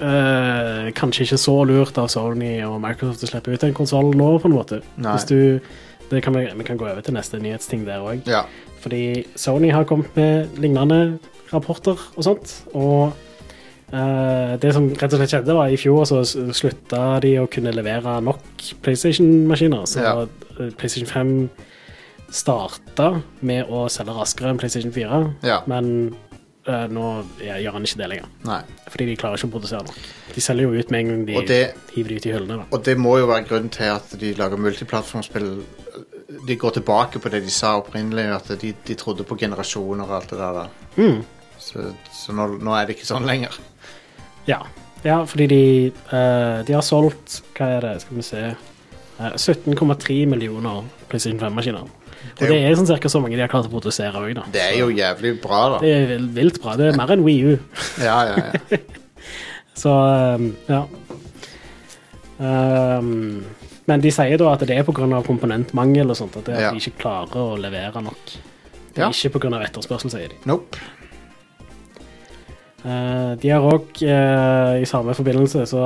eh, kanskje ikke så lurt av Sony og Microsoft å slippe ut en konsoll nå, på en måte.
Nei.
Hvis du det kan vi, vi kan gå over til neste nyhetsting der òg.
Ja.
Fordi Sony har kommet med lignende rapporter og sånt. Og eh, det som rett og slett skjedde, var i fjor så s- slutta de å kunne levere nok PlayStation-maskiner. Så
Ja.
eh, PlayStation 5 starta med å selge raskere enn PlayStation 4,
Ja.
men eh, nå ja, gjør han ikke det lenger.
Nei.
Fordi de klarer ikke å produsere nok. De selger jo ut med en gang de
Og det-
hiver de ut i hyllene. Da.
Og det må jo være grunnen til at de lager multiplattformspill. De går tilbake på det de sa opprinnelig, at de, de trodde på generasjoner og alt det der. der.
Mm.
Så, så nå, nå er det ikke sånn lenger.
Ja, ja fordi de, eh, de har solgt Hva er det, skal vi se eh, 17,3 millioner PlayStation 5-maskiner. Og
Det er
det
jo-
er sånn cirka så mange de har klart å produsere òg, da.
Det er jo jævlig bra, da.
Det er vil- vilt bra. Det er mer enn Wii U.
Ja, ja, ja.
Så ehm, ja. Ehm, men de sier da at det er pga. komponentmangel og sånt. At det er at
Ja.
de ikke klarer å levere nok. Det
Ja.
er ikke ikke pga. etterspørsel, sier de.
Nope.
Eh, de har òg, i samme forbindelse, så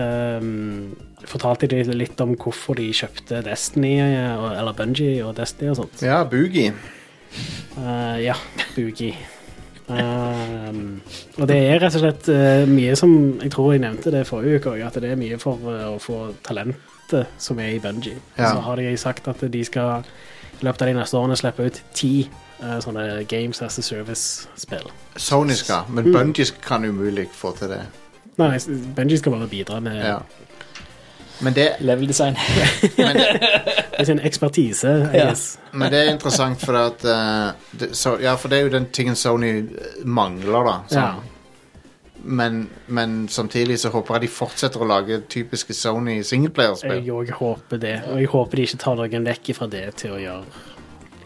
eh, fortalte de litt om hvorfor de kjøpte Destiny, eh, og- eller Bungie og Destiny og sånt.
Ja, Boogie.
Eh, ja, Boogie. Ehm, og det er rett og slett eh, mye som jeg tror jeg nevnte det forrige uke òg, at det er mye for eh, å få talentet som er i Bungie.
Ja.
Så har de sagt at de skal i løpet av de neste årene slippe ut ti eh, sånne Games as a Service-spill. Mm.
Sony skal, men Bungie kan umulig få til det.
Nei, nei, Benji skal bare bidra med
Ja. Men det,
Level design.
men det
med sin ekspertise. I
Ja.
guess.
Men det er interessant, for, at, eh, det, så, ja, for det er jo den tingen Sony eh, mangler, da.
Ja.
sånn. Men, men samtidig så håper jeg de fortsetter å lage typiske Sony
Jeg
singleplayerspill.
òg håper det. Og jeg håper de ikke tar noen vekk fra det til å gjøre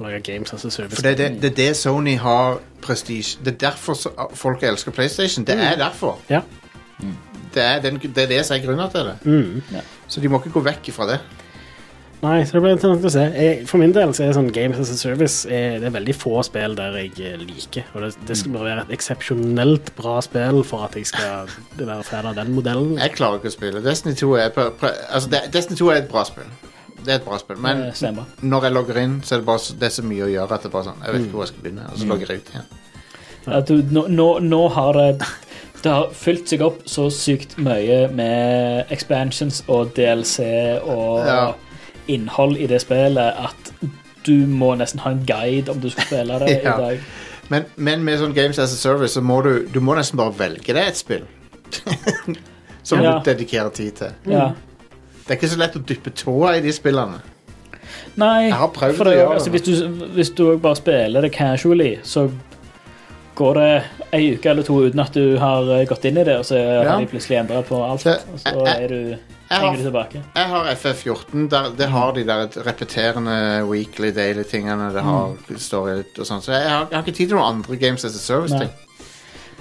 lage games as a service.
For det er det, det, er det Sony har prestige Det er derfor så, folk elsker PlayStation. Det
Mm.
er derfor.
Ja.
Det er, den, det er det som er grunnen til det.
Mm.
Så de må ikke gå vekk ifra det.
Nei, så det blir interessant å se. Jeg, for min del så er sånn Games as a Service er, det er veldig få spill der jeg eh, liker. Og det,
Mm.
det skal bare være et eksepsjonelt bra spill for at jeg skal være fan av den modellen.
Jeg klarer ikke å spille. Destiny 2 er, pre, pre, altså det, Destiny 2 er et bra spill. Det er et bra spill. Men
Eh, Stemmer.
når jeg logger inn, så er det, bare, så- det er så mye å gjøre at det er bare sånn Jeg vet ikke hvor jeg skal begynne.
Mm.
Og så logger jeg ut igjen.
At du, nå, nå, nå har det Det har fylt seg opp så sykt mye med expansions og DLC og
Ja.
innhold i det spillet at du må nesten ha en guide om du skal spille det
Ja.
i dag.
Men, men med sånn Games as a Service så må du, du må nesten bare velge deg et spill. Som
Ja.
du dedikerer tid til.
Ja.
Det er ikke så lett å dyppe tåa i de spillene.
Nei,
Jeg har prøvd å
for det, er jo-
gjøre
altså,
det.
hvis, du, hvis du også bare spiller det casually, så går det ei uke eller to uten at du har eh, gått inn i det, og så
Ja.
har de plutselig endra på alt.
Så,
Og
jeg-
så
jeg-
er du,
Jeg
henger
har,
du tilbake.
jeg har FF14. Der, det har de der repeterende weekly daily-tingene. Det har
Mm.
story og sånn. Så jeg har, jeg har ikke tid til noen andre Games as a Service-ting.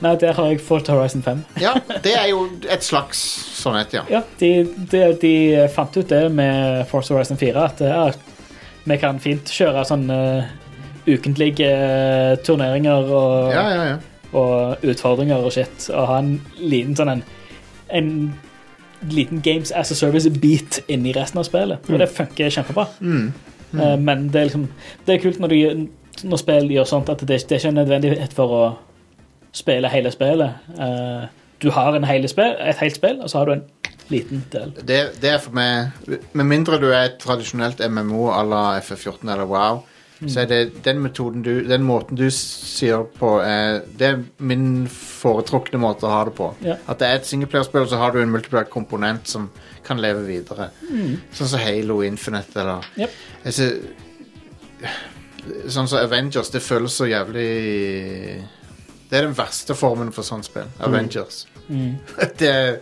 Nei, der har jeg fått Horizon 5.
Ja, det er jo et slags sånn et, ja.
Ja, de, de, de fant ut det med Force Horizon 4, at ja, vi kan fint kjøre sånne ukentlige eh, turneringer og,
Ja, ja, ja.
og utfordringer og shit, og ha en liten sånn en, en liten Games as a Service-beat inni resten av spillet. Og det funker kjempebra.
Mm.
Eh, Men det er liksom Det er kult når, du, gjør- når spill gjør sånt at det, det er ikke en nødvendighet for å spille hele spillet. Eh, Du har en hele spill, et helt spill, og så har du en liten del.
det, det er for meg Med mindre du er et tradisjonelt MMO à la FF14 eller WoW,
Mm.
så er det den metoden du Den måten du s- sier på, er, det er min foretrukne måte å ha det på.
Ja.
At det er et singleplayerspill, så har du en multiplayer-komponent som kan leve videre. Sånn som Halo Infinite eller
Mm. Yep.
Jeg ser- Sånn som Avengers. Det føles så jævlig Det er den verste formen for sånt spill.
Mm.
Avengers det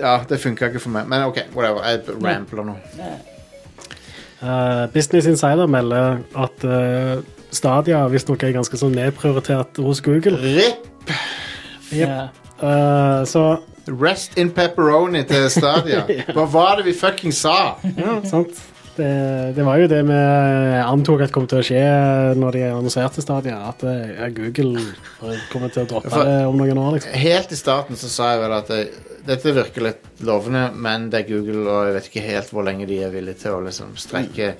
Ja, det funka ikke for meg. Men OK, whatever. Jeg rampler nå.
Eh, Business Insider melder at eh, Stadia visstnok er ganske sånn nedprioritert hos Google.
RIP!
Ja.
Eh, så
Rest in pepperoni til Stadia. Hva var det vi fucking sa?
sant? Det, det var jo det vi antok at kom til å skje når de annonserte Stadia, at eh, Google kommer til å droppe
For-
det om noen år. liksom.
Helt i starten så sa jeg vel at det, dette virker litt lovende, men det er Google, og jeg vet ikke helt hvor lenge de er villige til å liksom strekke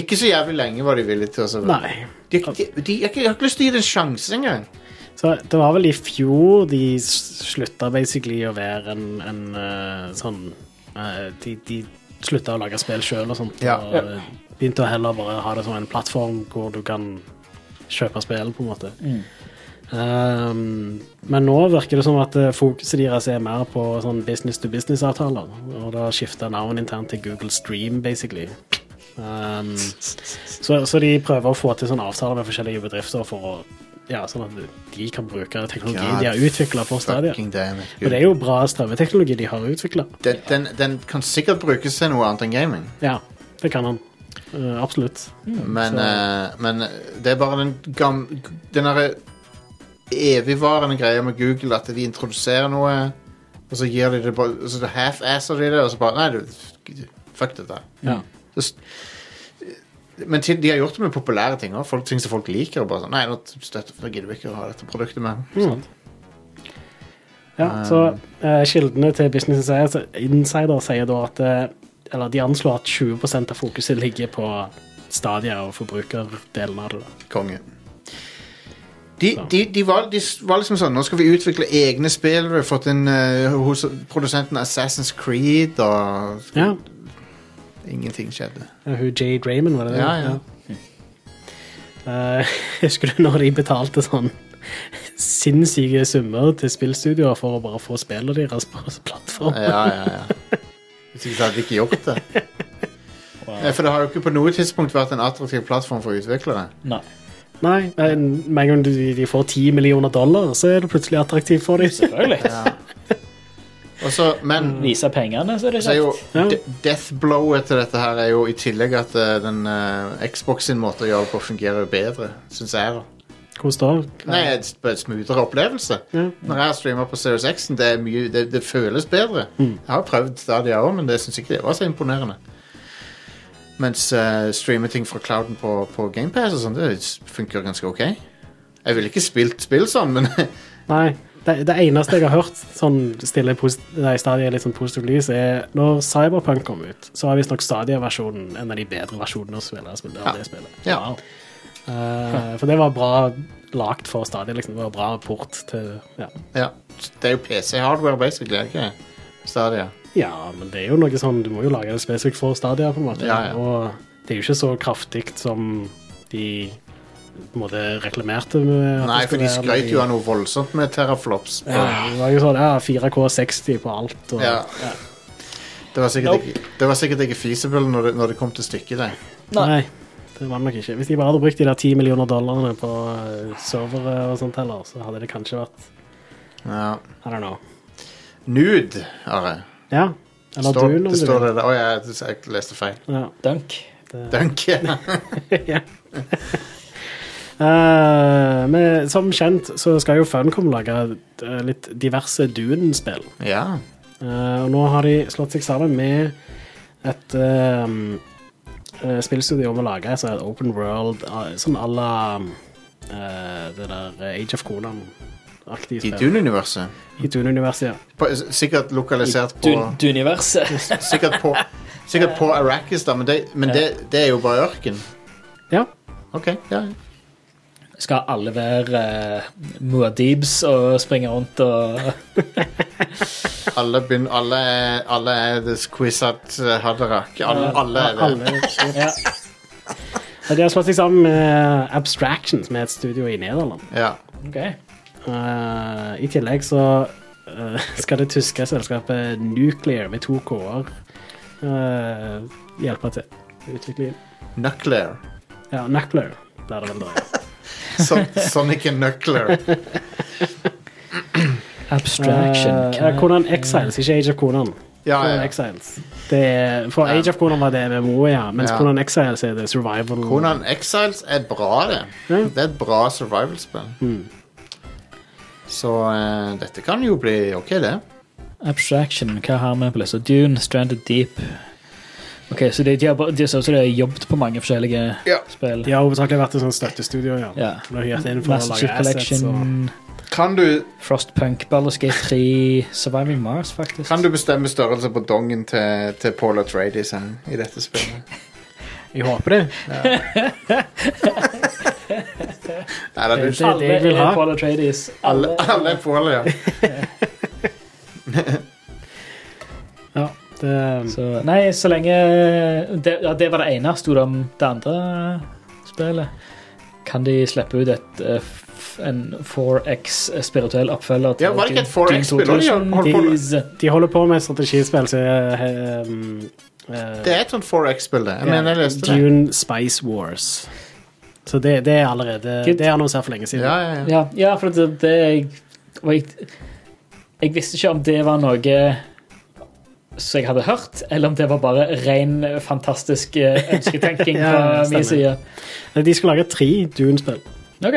Ikke så jævlig lenge var de villige til å så-
Nei.
De, de, de, jeg har ikke- jeg har ikke lyst til å gi det en sjanse engang.
Så det var vel i fjor de s- slutta basically å være en, en eh, sånn eh, De, de slutta å lage spill sjøl og sånt,
Ja.
og eh, begynte å heller bare ha det som en plattform hvor du kan kjøpe spill, på en måte. Um, men nå virker det som at eh, fokuset deres er mer på sånn business to business-avtaler. Og det har skifta navn internt til Google Stream, basically. Um, så, så de prøver å få til sånne avtaler med forskjellige bedrifter for å ja, sånn at de kan bruke teknologi de har utvikla for Stadia.
Fucking damn it,
Og det
Google.
er jo bra strømmeteknologi de har utvikla.
Den, den, den kan sikkert brukes til noe annet enn gaming.
Ja, det kan han. Eh, absolutt.
Men, eh, men det er bare den gam... Den derre evigvarende greia med Google at de introduserer noe, og så gir de det bare Så det half-asser de det, og så bare Nei, du, fuck dette.
Ja.
Så s- Men til, de har gjort det med populære ting også, folk, ting som folk liker. Og bare sånn, nei, nå støtter nå gidder vi ikke å ha dette produktet mer.
Ja, så Mm. eh, Kildene til Business Insider, Insider sier da at eh, Eller de anslår at 20 av fokuset ligger på Stadia og forbrukerdelen av det. da.
Konge. De, de, de, var, de s- var liksom sånn Nå skal vi utvikle egne spill. Vi har fått inn eh, hos produsenten Assassin's Creed, og
Ja,
ingenting skjedde.
ja, hun Jay Draymond, var det det?
Ja, ja.
Eh, husker du når de betalte sånn sinnssyke summer til spillstudioer for å bare få spillet deres på plattform.
Ja, ja, ja. Hvis ikke så hadde de ikke gjort det. Nei, For det har jo ikke på noe tidspunkt vært en attraktiv plattform for utviklere.
Nei.
Nei, men med en gang de de får 10 millioner dollar, så er det plutselig attraktivt for dem.
Selvfølgelig.
Og så, men
Vise pengene, så er det
så er jo
kjekt.
Ja.
de deathblowet til dette her er jo i tillegg at eh, den eh, Xbox sin måte å gjøre det på fungerer jo bedre, syns jeg. da.
Hvordan da?
Nei, en sp- en smoothere opplevelse.
Ja.
Når jeg har streamet på Series X, det, er mye, det, det føles bedre.
Mm.
Jeg har prøvd stadia òg, men det syns ikke det var så imponerende. Mens eh, streame ting fra clouden på, på GamePass og sånn, det s- funker ganske ok. Jeg ville ikke spilt spill sånn, men
Nei. Det, det eneste jeg har hørt sånn stille posit nei, stadig litt sånn positivt lys, er når Cyberpunk kom ut, så var visstnok Stadia-versjonen en av de bedre versjonene å spille. spille av
Ja.
det spillet.
ja.
Wow.
Eh, for det var bra lagt for Stadia. Liksom. Det var bra port til ja.
ja. Det er jo PC-hardware, basically. er det Ikke? det? Stadia.
ja, men det er jo noe sånn Du må jo lage det spesifikt for Stadia, på en måte.
Ja, ja.
Og det er jo ikke så kraftig som de på en måte reklamerte med. at det
Nei, for
skulle
de
være-
skrøt jo av noe voldsomt med terraflops.
Ja, det var jo sånn ja, 4K60 på alt. Og,
Ja.
ja.
Det var sikkert,
Nope.
ikke, det var sikkert ikke feasible når det, når det kom til stykket. Det.
Nei.
Nei. det var det nok ikke. Hvis de bare hadde brukt de der 10 millioner dollarene på eh, servere og sånt heller, så hadde det kanskje vært
Ja.
I don't know.
Nude, Are.
Ja. Eller
Står-
Dune, om
det
du
står
vil.
det der. Å ja, jeg, jeg leste feil.
Ja.
Dunk.
Dunk. ja.
ja. Eh, men som kjent så skal jo Funcom lage eh, litt diverse Dune-spill.
ja.
Eh, og nå har de slått seg sammen med et eh, eh, spillstudio om å lage altså et open world eh, sånn à la eh, det der eh, Age of Conan-aktige
I
spill.
Dune-universet.
I Dune-universet, ja.
På- s- Sikkert lokalisert på
Dun- Duniverset.
Sikkert på, sikkert på Arrakis, da, men, det, men det, det er jo bare ørken.
Ja,
OK. Ja.
Skal alle være uh, Muadibs og springe rundt og
Alle, begynner, alle, er- alle er The Squizat Haderach. Alle, alle er det.
alle ja. Og De har slått seg sammen med Abstraction, som er et studio i Nederland.
Ja.
OK.
Eh, I tillegg så eh, skal det tyske selskapet Nuclear med to k-er eh, hjelpe til. Utvikle
Nuclear.
Ja, Nuclear blir det vel da. ja.
Son Sonic and Nuclear.
Abstraction.
Eh, ja, Conan Exiles, ikke Age of Conan.
Ja,
Conan
ja.
Exiles. Det er, for Age of Conan var det MMO, ja. Mens
Ja.
Conan Exiles er det survival.
Conan Exiles er bra, det. Det er et bra survival-spill. Så eh, dette kan jo bli ok, det.
Abstraction, hva har vi på lista? Dune, Stranded Deep. Ok, Så de, de, har, bare- de, så, så de har jobbet på mange forskjellige
Ja.
spill?
De har hovedsakelig vært et sånt støttestudio, ja.
Ja.
Nå har jeg hørt inn for å
Master Chief
lage assets
Collection,
og
Kan du,
Frostpunk, Baldur's Gate 3, Surviving Mars, faktisk.
kan du bestemme størrelse på dongen til, til Paul Atreides her i dette spillet?
Jeg håper det.
Nei, det er du
Det er det jeg vil ha.
Paul Atreides.
alle, alle er Paul, ja.
Ja, det, um,
Så, nei, så lenge eh, det, ja, det var det ene. Sto det om det andre spillet? Kan de slippe ut et, eh, f- en 4X spirituell oppfølger til
Ja, var det ikke et 4X-spill
Dune
også de holdt på med?
2000?
de holder på med et strategispill som er um, eh,
Det er et sånt 4X-spill, det. Jeg mener, jeg leste det.
Dune Spice Wars. Så det, det er allerede
Good.
Det er annonsert for lenge siden.
Ja, ja, ja.
Ja, ja, for det, det jeg, og jeg, jeg visste ikke om det var noe som jeg hadde hørt, eller om det var bare ren fantastisk eh, ønsketenking
Ja,
fra min side.
stemmer. De skal lage tre Dune-spill,
Ok,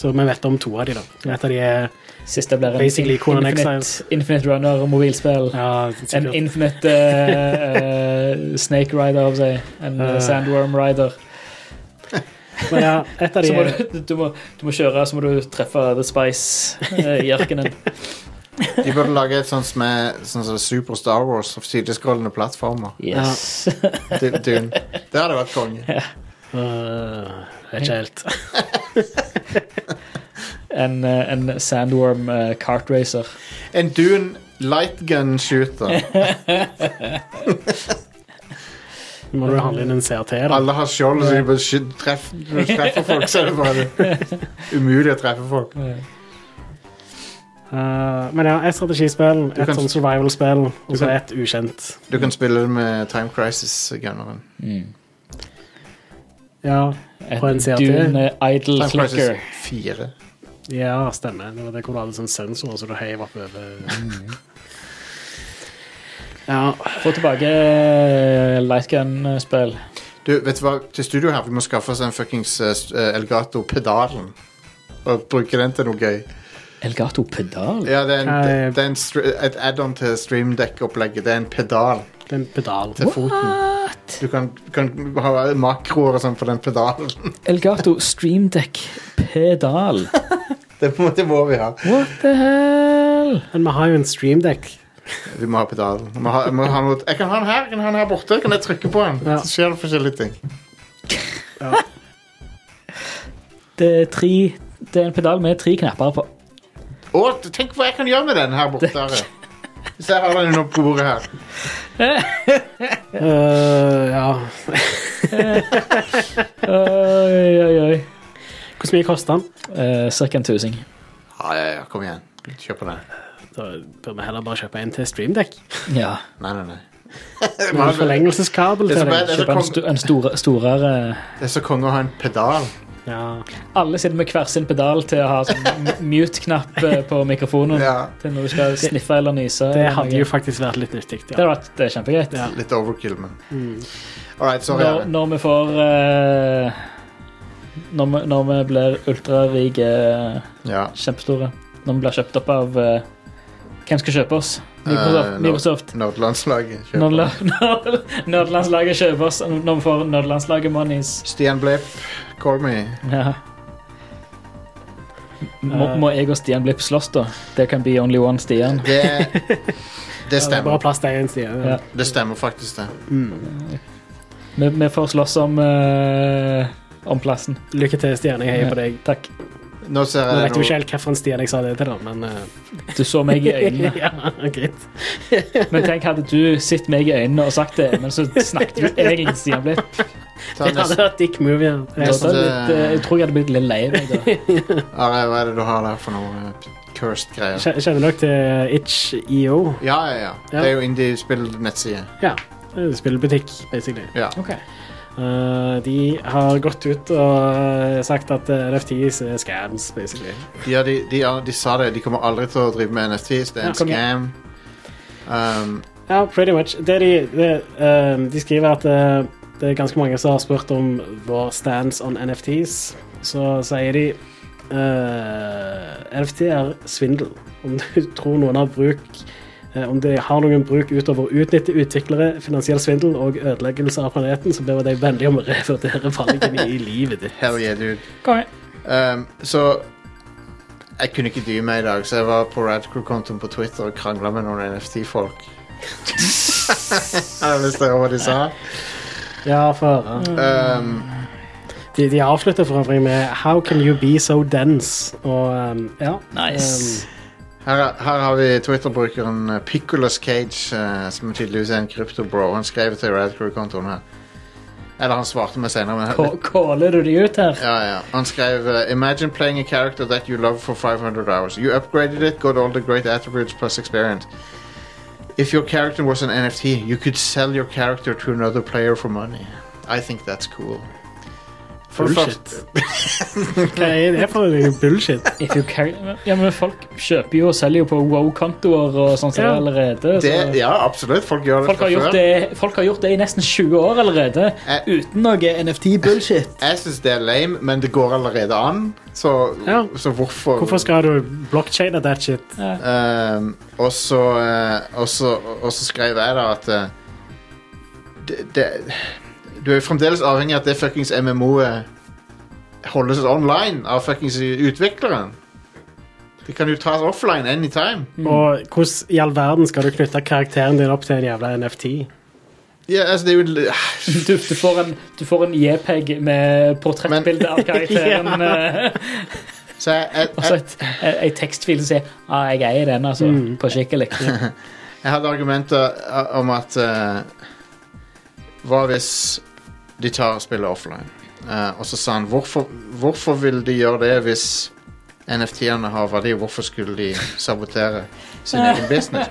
så vi vet om to av de da. Vi vet at de er
Siste blir en
Basically, Conan Exiles.
Infinite, Infinite Runner-mobilspill.
ja,
En
sikkert-
Infinite eh, eh, Snake Rider, om seg. En eh,
Eh.
Sandworm Rider.
men ja, et av de
Så må
er,
du, du, må, du må kjøre, så må du treffe The Spice eh, i ørkenen.
De burde lage et sånt som er sånn som Super Star Wars av sideskrollende plattformer.
Yes.
Du- Dune. Det hadde vært konge.
Øh, Vet ikke helt.
En, eh, en Sandworm eh, kartracer.
En Dune lightgun shooter.
Må du handle inn en CRT, da?
Alle har skjold, så de bare skyt- treff, når du treffer folk. Så er det bare umulig å treffe folk.
Eh,
Eh, men ja, et strategispill,
Du
et
kan-
sånn survival-spill, og så
kan-
et ukjent.
Du kan spille det med Time Crisis-gunneren.
Mm.
Ja,
Et
På en CRT?
Dune Idle
Time Crisis
Clicker.
4.
ja stemmer. Det var det hvor du hadde sånn sensor, så du heiv opp over
Mm.
Ja.
Få eh, tilbake lightgun-spill.
Du, vet du hva? Til studio her, vi må skaffe oss en fuckings eh, s- eh, Elgato-pedalen. Og bruke den til noe gøy.
Elgato pedal?
Ja, det er, en,
Nei.
det, det er en str et add-on til streamdeck-opplegget. Det er en pedal
Det er en pedal.
til foten. Du kan, kan ha makroer og sånn på den pedalen.
Elgato Streamdeck pedal.
Det må, det må vi ha.
What the hell?
Men vi har jo en streamdekk.
Vi må ha pedalen. Vi må ha, vi må ha noe. Jeg kan ha den her, jeg kan ha den her borte. Kan jeg trykke på den?
Ja.
Så skjer det forskjellige ting.
Det er, tre, det er en pedal med tre knapper på.
Å, tenk hva jeg kan gjøre med den her borte. her. Hvis jeg har den under på bordet her.
Eh, ja.
Oi, oi, oi.
Hvor mye koster den?
Eh, Cirka en tusing.
Ah, Ja, ja, ja, kom igjen. Kjør på den.
Da bør vi heller bare kjøpe en til streamdekk.
Ja.
Nei, nei, nei.
Med forlengelseskabel
Det er så
til
bad,
den.
det er så
Kjøpe en,
kong-
sto, en store, storere
Det er så konge å ha en pedal.
Ja.
Alle sitter med hver sin pedal til å ha sånn m- mute-knapp eh, på mikrofonen.
Ja,
Til når du skal sniffe eller nyse.
Det
eller
hadde
noe.
jo faktisk vært litt nyttig.
Det
Ja.
hadde vært det er kjempegreit.
Ja.
Litt overkill, men
Mm.
All right, sorry.
Nou,
Når,
Are.
når vi får eh, når, vi, når vi blir ultrarike, eh,
Ja.
kjempestore Når vi blir kjøpt opp av eh, Hvem skal kjøpe oss?
Eh,
Microsoft.
nå-
Microsoft.
Nou, Nerdelandslaget.
Nou,
kjør på.
Nordla- Nord- Nordlandslaget kjøper oss når vi får Nordlandslaget monies.
Stian Blipp, call me.
Ja. Må, må jeg og Stian Blipp slåss, da? There can be only one Stian.
Det, det
Det er bare
stemmer.
plass til én Mm. side.
Ja.
Ja.
Det stemmer faktisk, det.
Vi, vi får slåss om eh, om plassen.
Lykke til, Stian. Jeg heier
Ja.
på deg.
Takk.
Nå ser
Jeg
jeg
vet jo ikke
noe
helt hvilken Stian jeg sa det til, da, men eh,
Du så meg i øynene.
ja, greit.
Men tenk hadde du sett meg i øynene og sagt det, men så snakket jo jeg ikke Stian Blipp.
Ta
Det hadde
neste-
vært dick move, ja.
Da
Jeg,
Neste.
hadde jeg blitt, eh, Jeg tror jeg hadde blitt litt lei meg da.
Are, Hva er det du har der for noe eh, cursed greier?
kje- kjenner dere til Itch.io?
Ja, ja, ja. Det er jo indie-spill-nettside.
Ja. det er Spillbutikk, basically.
Ja.
Eh, de har gått ut og sagt at eh, NFTs er scams, basically.
De, har- de, de, har- de sa det, de kommer aldri til å drive med NFTs. Det er
Ja,
en
kom
scam. Um,
Ja, pretty much. Det de, det, ehm, de skriver at eh, det er ganske mange som har spurt om vår stance on NFTs. Så sier de eh, NFT er svindel. Om du tror noen har bruk eh, Om de har noen bruk utover å utnytte utviklere, finansiell svindel og ødeleggelse av planeten, så ber vi deg vennlig om å revurdere valgene i livet ditt.
hell yeah, dude.
Kom igjen.
Um, så jeg kunne ikke dy meg i dag, så jeg var på Radcrew-kontoen på Twitter og krangla med noen NFT-folk. Har du lyst til å høre hva de sa?
Ja, for, eh,
Um,
de, de avslutter for øvrig med How can you be so dense? Og ehm, ja.
Nice.
ehm,
her, her har vi Twitter-brukeren eh, Piccolo's Cage, eh, som tydeligvis er en krypto-bro. Han skrev til Radcrew-kontoen her. Eller han svarte meg senere. Men
K- Kåler du de ut her?
Ja, ja. Han skrev uh, Imagine playing a character that you love for 500 hours. You upgraded it, got all the great attributes plus experience. If your character was an NFT, you could sell your character to another player for money. I think that's cool. For det
Bullshit.
første-
Hva er det for noe bullshit?
If you carry Ja, men folk kjøper jo og selger jo på wow-kontoer og sånn som det
Ja.
allerede. Så.
Det, ja, absolutt. Folk gjør det
Folk
fra
har, gjort
før.
det, folk har gjort det i nesten 20 år allerede,
Eh.
uten noe NFT-bullshit.
Jeg syns det er lame, men det går allerede an, så,
Ja.
så hvorfor
Hvorfor skal du blockchaine that shit?
Ehm, og så eh, og så- og så skrev jeg da at eh, det, det, Du er jo fremdeles avhengig av at det fuckings MMO-et holdes online av fuckings utvikleren. Det kan jo tas offline anytime.
Og hvordan i all verden skal du knytte karakteren din opp til en jævla NFT?
Ja, altså, det er jo en-
Du, du, får en, du får en JPEG med portrettbilde av karakteren. eh,
Så jeg, jeg,
Og så
jeg,
et- ei ei tekstfil som sier ah, 'jeg eier den', altså.
Mm.
På skikkelig.
jeg hadde argumenter eh, om at eh, Hva hvis de tar spillet offline? Eh, og så sa han hvorfor, hvorfor vil de gjøre det hvis NFT-ene har verdi, hvorfor skulle de sabotere sin egen business?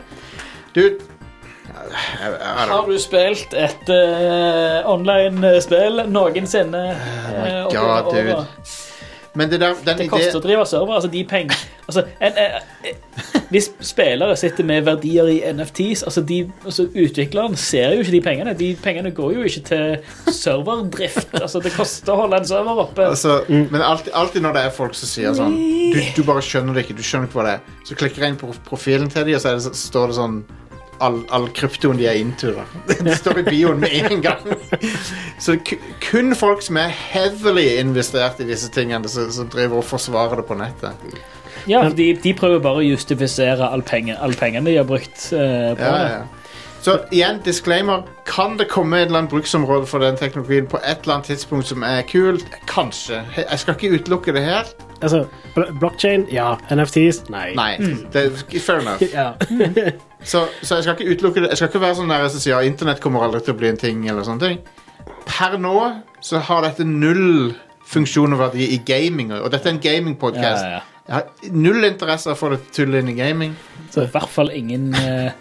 Dude eh, jeg- jeg- jeg-
Har du spilt et eh, online eh, spill noensinne? eh, opp
God,
gjennom årene?
dude. Men det der, den
Det koster
ideen
å drive server. Altså, de penger altså, en, eh, eh, Hvis spillere sitter med verdier i NFTs altså, de, altså Utvikleren ser jo ikke de pengene. De pengene går jo ikke til serverdrift. Altså, det koster å holde en server oppe.
altså, Men alltid, alltid når det er folk som sier sånn du, du bare skjønner det ikke, du skjønner ikke hva det er. Så klikker jeg inn på profilen til dem, og så, er det, så står det sånn All, all kryptoen de er into. da Det står i bioen med en gang. Så det er ku- kun folk som er heavily investert i disse tingene, som som driver og forsvarer det på nettet.
Ja, for de, de prøver bare å justifisere all, penge, all pengene de har brukt eh, på
Ja,
det.
ja. Så igjen, disclaimer. Kan det komme et eller annet bruksområde for den teknologien på et eller annet tidspunkt som er kult? Kanskje. He- Jeg skal ikke utelukke det helt.
Altså, bl- blockchain, ja. NFTs, nei.
Nei. Det, er- fair enough.
Ja.
Så, så jeg skal ikke utelukke det. Jeg skal ikke være sånn der som sier ja, internett kommer aldri til å bli en ting. eller sånne ting. Per nå så har dette null funksjon og verdi i gaming, og dette er en gamingpodkast.
Ja, ja, ja.
Jeg har null interesse av å få det tullet inn i gaming.
Så i hvert fall ingen eh,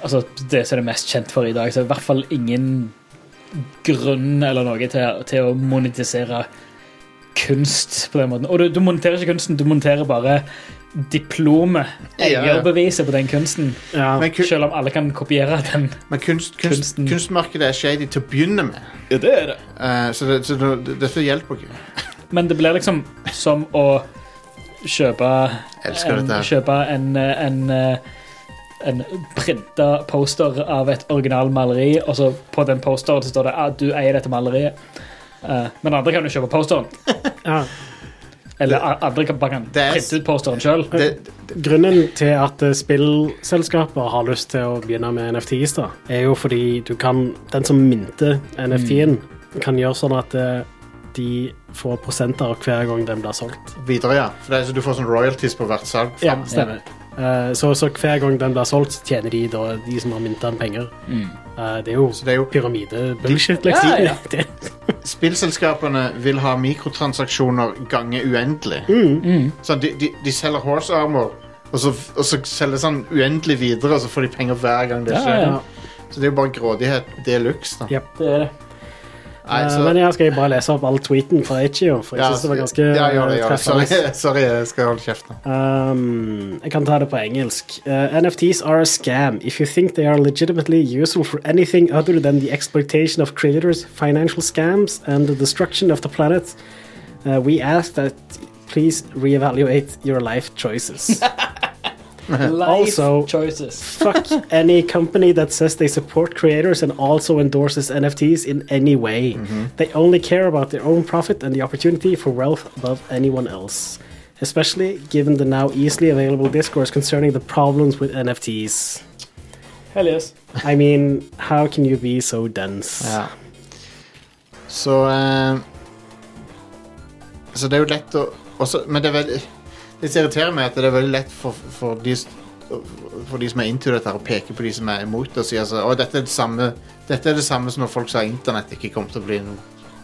Altså, det som er det mest kjent for i dag, så er det i hvert fall ingen grunn eller noe til, til å monetisere kunst på den måten. Og du, du monterer ikke kunsten, du monterer bare diplomet,
Ja, ja, ja.
eierbeviset på den kunsten.
Ja.
Men, ku
Selv om alle kan kopiere den.
men kunst, kunst,
Kunsten.
kunstmarkedet er shady til å begynne med,
Ja, det er det.
Eh, så, det, så det, dette hjelper ikke.
Men det blir liksom som å kjøpe
Jeg elsker
en,
dette her.
Kjøpe en, eh, en, eh, en printa poster av et original maleri, og så på den posteren så står det at du eier dette maleriet. Eh, men andre kan jo kjøpe posteren.
ja.
Eller a- andre kan bare kan
Det er-
printe ut posteren sjøl.
Det,
Grunnen til at eh, spillselskaper har lyst til å begynne med NFTs, da, er jo fordi du kan Den som minter NFT-en, kan gjøre sånn at eh, de får prosenter av hver gang den blir solgt.
videre, ja. For det er, så du får sånn royalties på hvert salg.
Ja, stemmer. Eh, Så, så hver gang den blir solgt, så tjener de da de som har mynta den, penger.
Mm.
Eh, Det er jo
Så det er jo
pyramide-bullshit, liksom.
Ja, ja.
Det-
Spillselskapene vil ha mikrotransaksjoner gange uendelig.
Mm.
Mm.
Sånn, de, de, de selger horse armor, og så, og så selger sånn uendelig videre, og så får de penger hver gang det
Ja,
skjer.
ja.
Så det er jo bare grådighet. Det er luks, da.
Ja.
Det er det.
Nei,
Eh,
så-
Men jeg skal jeg bare lese opp all tweeten fra Ichio, for jeg
Ja,
synes det var ganske
ja, gjør det,
eh,
gjør det.
treffende.
Sorry, sorry, jeg skal holde kjeft nå.
Um, jeg kan ta det på engelsk. Uh, NFTs are a scam. If you think they are legitimately useful for anything other than the exploitation of creators, financial scams, and the destruction of the planet, uh, we ask that please reevaluate your life choices.
Life
Also-
choices.
Fuck any company that says they support creators and also endorses NFTs in any way.
Mm-hmm.
They only care about their own profit and the opportunity for wealth above anyone else. Especially given the now easily available discourse concerning the problems with NFTs.
Hell yes.
I mean, how can you be so dense?
Ja. Så eh, Så det er jo lett å også, Men det er veldig Det som irriterer meg, er at det er veldig lett for, for, de, s- for de som er into dette, her, å peke på de som er imot det, og si altså Å, dette er det samme Dette er det samme som når folk sa internett ikke kom til å bli noe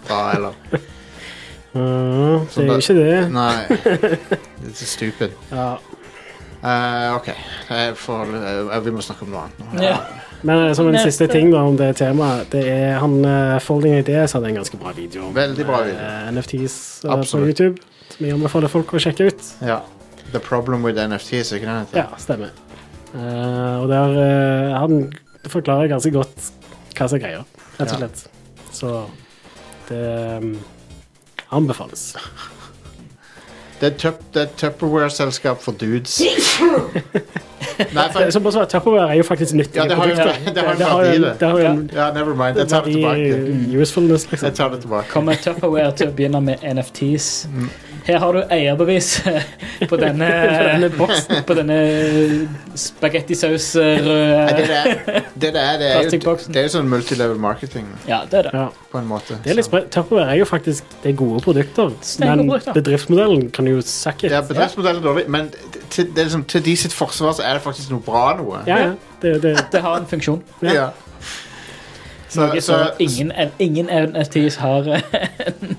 bra, eller
Uh, det er jo
bare-
ikke det.
Nei. Det er så stupid.
Ja.
Eh, OK. Jeg får, eh, vi må snakke om noe annet nå.
Ja.
Men eh, som en
Neste.
siste ting da, om det temaet, det er han eh, Folding Ideas hadde en ganske bra video om
Veldig bra
eh,
video.
NFTs eh, på
Absolutt.
YouTube, som jeg anbefaler folk å sjekke ut.
Ja. The problem with NFT, så ikke det heter?
Ja, stemmer. Eh, og der eh, han forklarer ganske godt hva som er greia, rett og
Ja.
slett. Så det mm, anbefales.
Det er, tup, det er Tupperware-selskap for dudes. Nei,
Det
for,
som også er sånn Tupperware er jo faktisk nyttige
Ja, det har jo-
produkter.
det har jo en
jo
verdi,
en-
det.
det har jo en
ja, never mind. Jeg tar det tilbake.
verdi usefulness, liksom.
Jeg tar det tilbake.
Kommer Tupperware til å begynne med NFTs?
Mm.
Her har du eierbevis på denne, boksen, på denne eh,
Nei,
spagettisaus-røde
det, det, er, det, det, er, det, er jo,
Plastikkboksen.
det er jo sånn multilevel marketing,
Ja, det er det.
Ja.
på en måte.
Det er litt
Så-
sprø- Tupperware er jo faktisk det er gode produkter,
Steingode
men
produkter.
bedriftsmodellen kan jo suck it.
Ja, bedriftsmodell er dårlig, men til, det er liksom, til de sitt forsvar så er det faktisk noe bra noe.
Ja, ja. Det, det,
Det har en funksjon.
ja.
Ja. Så,
Noe
så,
som ingen, ingen NFTs har. eh,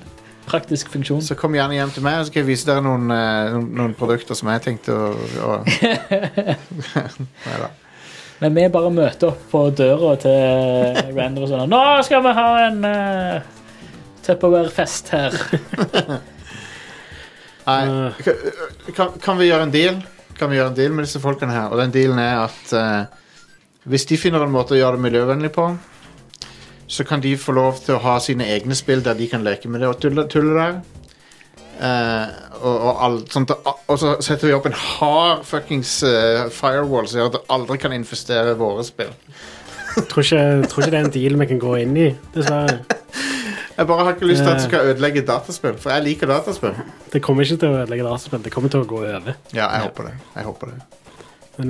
praktisk funksjon.
Så kom gjerne hjem til meg, og så skal jeg vise dere noen, eh, noen, noen produkter som jeg tenkte å, å... Neida.
Men vi bare møter opp på døra til Rander og sånn Nå skal vi ha en uh, Tupperware-fest her.
Nei. Eh, Kan, kan vi gjøre en deal? Kan vi gjøre en deal med disse folkene her? Og den dealen er at eh, hvis de finner en måte å gjøre det miljøvennlig på, så kan de få lov til å ha sine egne spill der de kan leke med det og tulle, tulle der. Eh, og, og, alt, sånt, og så setter vi opp en hard fuckings eh, firewall som gjør at de aldri kan investere i våre spill.
Tror ikke, tror ikke det er en deal vi kan gå inn i, dessverre.
Jeg bare har ikke lyst til at
Eh.
du skal ødelegge dataspill, for jeg liker dataspill.
Det kommer ikke til å ødelegge rasespill, det kommer til å gå over.
Ja, jeg håper det. Jeg håper det.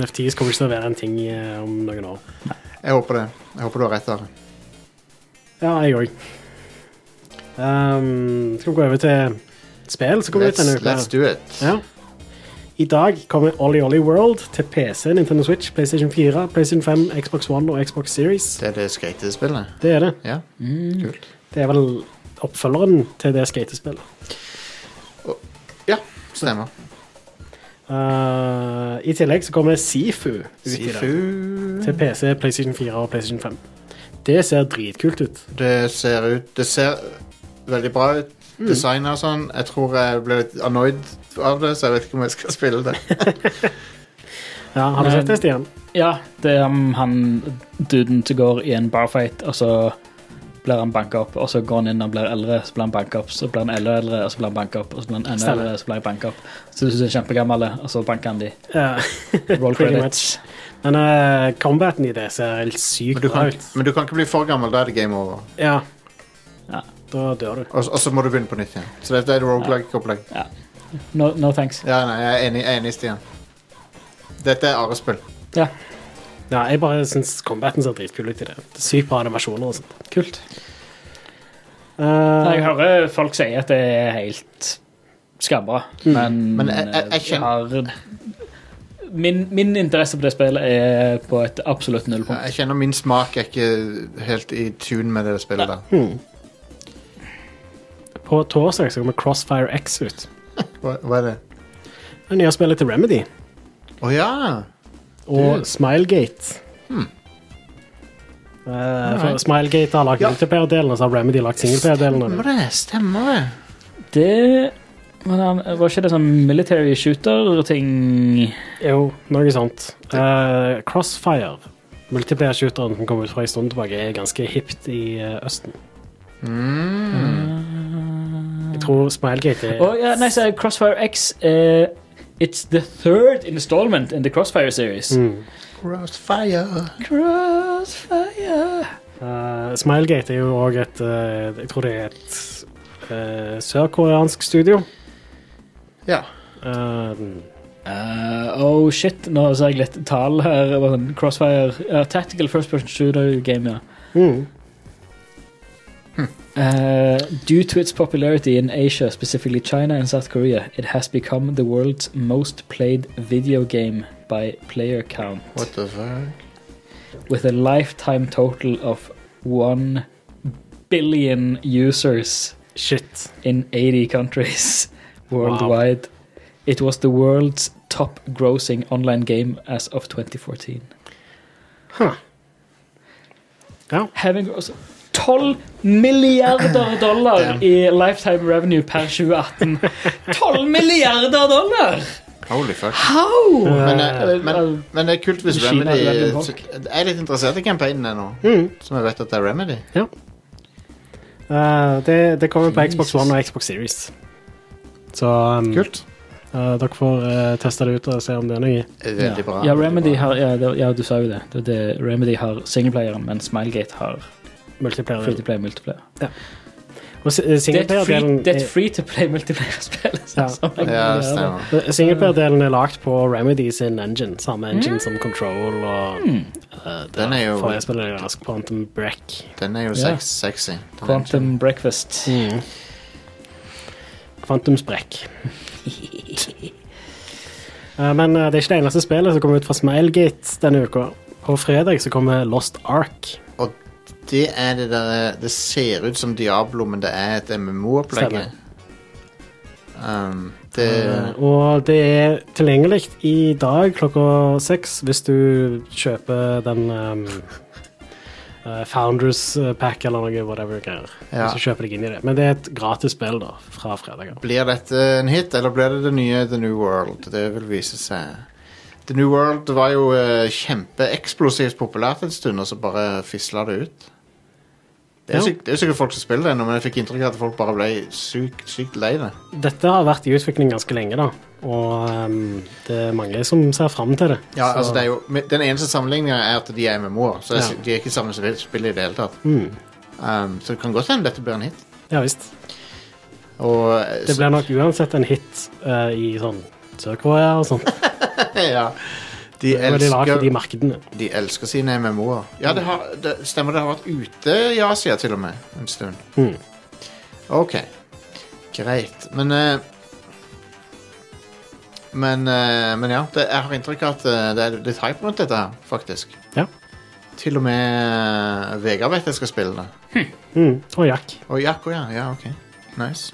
NFTs kommer ikke til å være en ting eh, om noen år.
Jeg håper, det. Jeg håper du har rett der.
Ja, jeg òg. Um, skal vi gå over til spill som kommer ut
Let's,
denne uka?
let's do it.
Ja. I dag kommer Ollie Ollie World til PC, Nintendo Switch, PlayStation 4, PlayStation 5, Xbox One og Xbox Series.
Det er det skatespillet?
Det er det.
Ja. Kult.
Det er vel oppfølgeren til det skatespillet.
Ja, stemmer.
Uh, I tillegg så kommer Sifu ut i dag.
Sifu
Til PC, PlayStation 4 og PlayStation 5. Det ser dritkult ut.
Det ser ut Det ser veldig bra ut. Designet og sånn. Jeg tror jeg ble litt annoyed av det, så jeg vet ikke om jeg skal spille det.
Ja, har du
Men-
sett det, Stian?
Ja, det er um, han duden som går i en barfight, og så blir han banka opp, og så går han inn og blir eldre, så blir han banka opp, så blir han enda eldre, og så blir han banka opp, og så blir han enda
Stemmer.
eldre, så blir han banka opp. Så du synes han er kjempegammel, og så banker han de.
Ja,
Roll
pretty
credits.
much. Men uh, combaten i det ser helt sykt
Men du,
bra
kan,
ut.
men du kan ikke bli for gammel. Da er det game over.
Ja.
Ja.
Da dør du.
Og, og så må du begynne på nytt igjen. Så dette er et roguelike-opplegg.
No, no thanks.
Ja, nei, jeg er enig, jeg er enig Stian. Dette er Are-spill.
Ja,
Ja, jeg bare syns combaten ser dritkul ut i det. det er sykt bra animasjoner og sånt.
kult.
Uh,
Jeg hører folk si at det er helt skambra, men,
Mm. Men jeg- jeg- jeg
eh, har min, min interesse på det spillet er på et absolutt nullpunkt.
Jeg kjenner min smak er ikke helt i tune med det spillet der.
På torsdag så kommer Crossfire X ut.
Hva, hva er det?
Det nye spillet til Remedy
Å ja!
og
Du.
Smilegate. Eh, for
Alright.
Smilegate har lagd
Ja.
multiplayer-delen, og så har Remedy lagd singleplayer-delen. av det.
Stemmer det. Stemmer det.
Det men han, Var ikke det sånn military shooter-ting?
Jo, noe sånt. Eh, Crossfire, multiplayer-shooteren som kom ut for en stund tilbake, er ganske hipt i eh, Østen.
Mm.
Mm.
Jeg tror Smilegate er
Å ja, nei, så Crossfire X eh, It's the third installment in the Crossfire series.
Mm.
Crossfire.
Crossfire
Eh, Smilegate er jo òg et eh, Jeg tror det er et eh, sørkoreansk studio.
Ja.
Eh,
Eh, oh shit, nå ser jeg litt tall her. Det var sånn Crossfire eh, Tactical First Person Shooter Game, ja.
mm.
Uh, due to its popularity in Asia, specifically China and South Korea, it has become the world's most played video game by player count.
What the fuck?
with a lifetime total of 1 billion users
Shit.
in 80 countries worldwide. It was the world's top grossing online game as of 2014.
Huh. Ja.
Having grossed 12 milliarder dollar
Damn.
i lifetime revenue per 2018. 12 milliarder dollar!
Holy fuck.
How?
Men,
Eh,
eh, men, men det er kult hvis
Kina
Remedy
er veldig bak.
Jeg er litt interessert i campaignen ennå,
Mm.
som jeg vet at det er Remedy.
Eh, det, det kommer på Xbox
Jesus.
One og Xbox Series. Så
Mm.
um,
Kult.
eh, dere får eh, teste det ut og se om det er noe.
Veldig bra.
Ja,
veldig
Remedy
bra.
har, ja, det- ja, du sa jo det. det, er det Remedy har singleplayeren, men Smilegate har free
Multiplayer.
to play multiplayer.
Og si- eh,
Det er et free-
singleplayer-delen
det er et
er-
free to play multiplayer-spill.
Ja.
som jeg
Ja,
gjør det.
stemmer.
eh, singleplayer-delen er lagd på Remedy sin engine. Samme engine som Control og eh, det
Hmm. Den er jo-
forrige spillet deres, Quantum Break.
Den er jo
Ja.
sex, sexy. Den er ikke-
Quantum Breakfast.
Hmm.
Quantum Sprekk. Eh, Men eh, det er ikke det eneste spillet som kommer ut fra Smilegate denne uka. På fredag så kommer Lost Ark.
eh, Og det er det der Det ser ut som Diablo, men det er et MMO-opplegg.
Stemmer.
Um, det
Eh, Og det er tilgjengelig i dag klokka seks hvis du kjøper den um, eh, Founders eh, Pack eller noe whatever. greier.
Ja.
Så kjøper deg inn i det. Men det er et gratis spill da, fra fredager.
Blir dette en hit, eller blir det det nye The New World? Det vil vise seg. The New World var jo eh, kjempeeksplosivt populært en stund, og så bare fisla det ut. Det er,
Ja.
sykt, det er sikkert folk som spiller det ennå, men jeg fikk inntrykk av at folk bare ble sykt, sykt lei det.
Dette har vært i utvikling ganske lenge, da. Og ehm, det er mange som ser fram til det.
Ja,
Så-
altså det er jo, men Den eneste sammenligninga er at de er MMO-er, så jeg,
Ja.
de er ikke samme spill i det hele tatt.
Mm.
Um, så det kan godt hende dette blir en hit.
ja visst.
Og,
Det blir nok uansett en hit eh, i sånn Sør-Korea og sånt.
ja, de
Det er veldig lagt i
elsker,
de markedene.
de elsker sine MMO-er. Ja, det, har, det stemmer det har vært ute i Asia til og med en stund.
Mm.
Ok, greit. Men eh, men, eh, men ja, det, jeg har inntrykk av at eh, det er litt hype rundt dette her, faktisk.
Ja.
Til og med eh, Vegard vet jeg skal spille det.
Mm. Og Jack.
Og Jakko, ja. Ja, ok. Nice.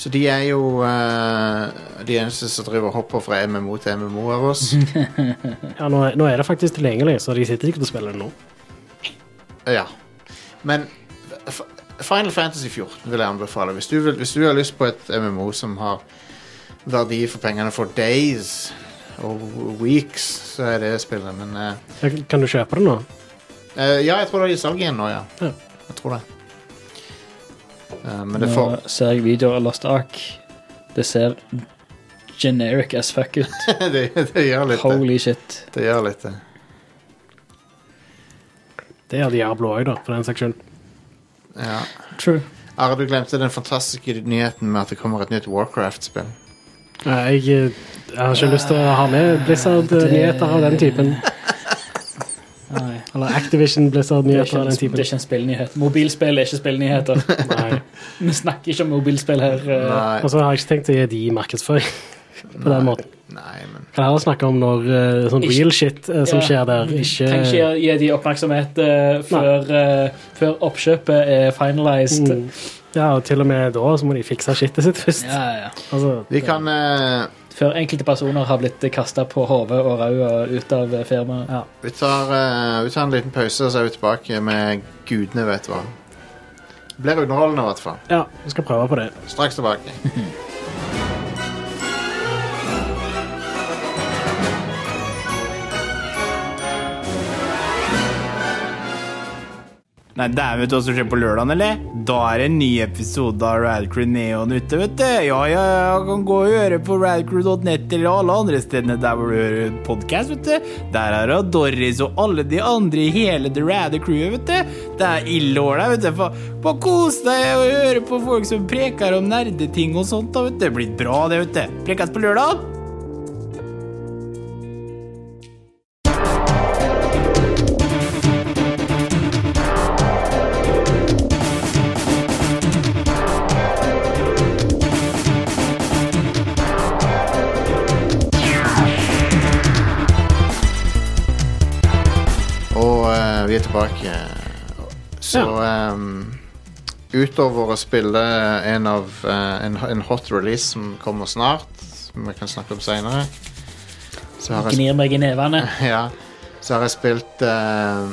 Så de er jo eh, de eneste som driver og hopper fra MMO til MMO av oss.
Ja, nå, er- nå er det faktisk tilgjengelig, så de sitter ikke og spiller det nå.
ja. Men F- Final Fantasy 14 vil jeg anbefale. Hvis du, vil, hvis du har lyst på et MMO som har verdi for pengene for days og weeks, så er det spillet. Men eh,
Ja, Kan du kjøpe det nå?
eh, ja, jeg tror det er i salg igjen nå, ja.
Ja.
Jeg tror det. Eh, men det får
Nå ser jeg videoer av Lost Ark. Det ser generic as fuck ut.
det, det gjør litt eh. det.
Holy shit.
Det gjør litt det.
Det er Diablo òg, da, for den saks skyld.
Ja.
True.
Are, du glemte den fantastiske nyheten med at det kommer et nytt Warcraft-spill.
Eh, Jeg, eh, jeg har ikke lyst til å ha med Blizzard-nyheter av den typen.
Nei.
Eller Activision
Det er,
Blizzard-nyheter av den
ikke, det er
typen.
ikke en spillnyhet. Mobilspill er ikke spillnyheter.
Nei.
Vi snakker ikke om mobilspill her. eh.
Nei,
Og så har jeg ikke tenkt å gi de markedsføring på den måten.
nei, men
Kan heller snakke om når eh, sånn
Ikke-
real shit eh, som
Ja.
skjer der, ikke
Trenger ikke gi- gi de oppmerksomhet eh, før, eh, før oppkjøpet er finalized.
Mm. Ja, og til og med da så må de fikse shitet sitt først.
Ja, ja.
Altså,
Vi kan eh,
Før enkelte personer har blitt kasta på hodet og ræva ut av eh, firmaet.
ja.
vi, tar, eh, vi tar en liten pause, og så er vi tilbake med gudene vet hva. Det Blir underholdende, i hvert fall.
ja, vi skal prøve på det.
Straks tilbake.
Nei, dæven, vet du hva som skjer på lørdagen, eller? Da er det en ny episode av Radcrew Neon ute, vet du. Ja, ja, ja, kan gå og høre på radcrew.net eller alle andre stedene der hvor du hører podkast, vet du. Der er det Doris og alle de andre i hele The Rad Crewet, vet du. Det er ille åla, vet du. Fa- Bare kos deg og høre på folk som preker om nerdeting og sånt, da, vet du. Det blir bra, det, vet du. Prekes på lørdag.
Og eh, vi er tilbake. Så ehm, utover å spille en, av, eh, en, en hot release som kommer snart, som vi kan snakke om seinere, så har jeg
Gnir meg i nevene.
Ja. Så har jeg spilt eh,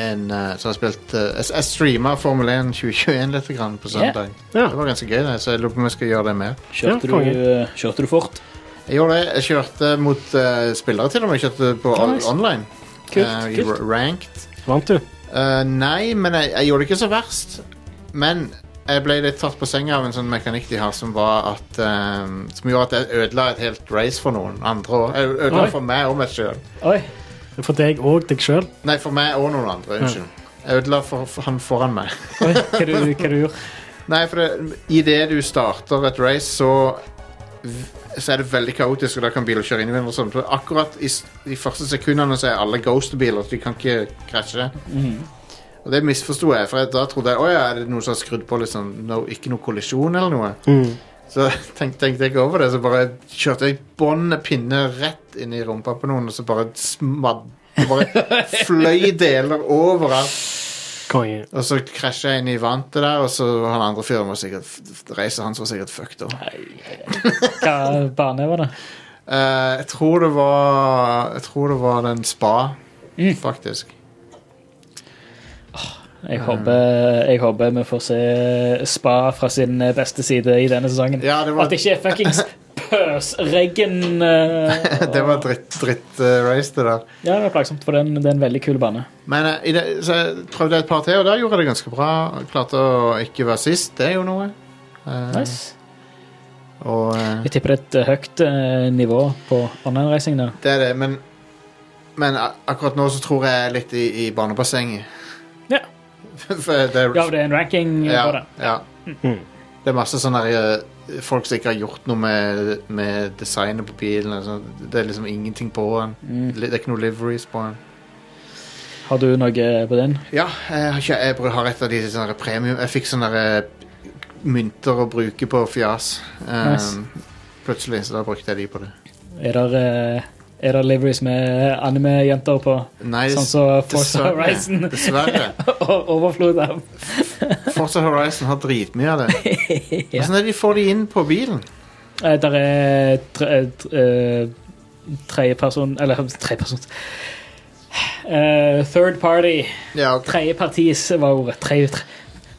en eh, Så har jeg spilt eh, Jeg, jeg streama Formel 1 2021 litt grann på søndag.
Ja.
Det var ganske gøy, det, så jeg lurer på om jeg skal gjøre det mer.
Ja,
Kjørte,
konge.
du, eh, kjørte du fort?
Jeg gjorde det. Jeg kjørte mot eh, spillere, til og med. Jeg kjørte på on
Nice.
online.
Kult,
Eh, i
kult.
ra- ranked.
Vant du?
Eh, nei, men jeg, jeg gjorde det ikke så verst. Men jeg ble litt tatt på senga av en sånn mekanikk de har som var at eh, Som gjorde at jeg ødela et helt race for noen andre òg. Jeg ødela
Oi.
for meg og meg sjøl.
Oi.
For deg og deg sjøl.
Nei, for meg og noen andre. Unnskyld. Jeg ødela for, for han foran meg.
Oi. Hva, du, hva du gjorde
Nei, for det, i det du starter et race, så så er det veldig kaotisk, og da kan biler kjøre inn i hverandre. og sånn. Så Akkurat i s- de første sekundene så er alle ghost-biler, så de kan ikke krasje. Og det misforsto jeg, for jeg- da trodde jeg å ja, er det noen som har skrudd på liksom, no, ikke noe kollisjon eller noe.
Mm.
Så tenk, tenkte jeg ikke over det, så bare kjørte jeg bånd pinne rett inn i rumpa på noen, og så bare smadd. det Bare fløy deler overalt.
Konge.
Og så krasja en i vantet der, og så var han andre fyren var sikkert Reisen hans var sikkert fucked up.
Hva bane var det?
Eh, jeg tror det var Jeg tror det var den spa,
Mm.
faktisk.
Jeg håper, jeg håper vi får se Spa fra sin beste side i denne sesongen.
Ja, det var-
At det ikke er fuckings pøsregn. eh,
Det var dritt, dritt eh, race, det der.
Ja, det var plagsomt, for den, det er en veldig kul bane.
Men eh, i det, så jeg prøvde jeg et par til, og der gjorde jeg det ganske bra. Klarte å ikke være sist. Det er jo noe. Eh,
Nice.
Og eh,
Jeg tipper det er et høyt eh, nivå på online-racing der.
det er det, men Men a- akkurat nå så tror jeg litt i, i barnebassenget.
Ja.
For det er
Ja, det er en ranking
ja,
på det. Mm.
ja. Mm. Det er masse sånne her, eh, folk som ikke har gjort noe med, med designet på bilen. og sånn. Det er liksom ingenting på den. Det er ikke noe liveries på den.
Mm. Har du noe på den?
Ja, jeg har, ikke, jeg bru- har et av de sånne premium Jeg fikk sånne eh, mynter å bruke på fjas. Um,
Nice.
Plutselig, så da brukte jeg de på det.
Er det, er der liveries med anime-jenter på?
Nei,
sånn som Forza
dessverre.
Horizon
Dessverre.
og Overflod av.
Forza Horizon har dritmye av det. Hvordan er det de får de inn på bilen?
Eh, Der er tre, eh, tre, eh, tredjeperson Eller tredjeperson Eh, Third party.
Ja, ok.
Tredjepartis var ordet. Tre, tre.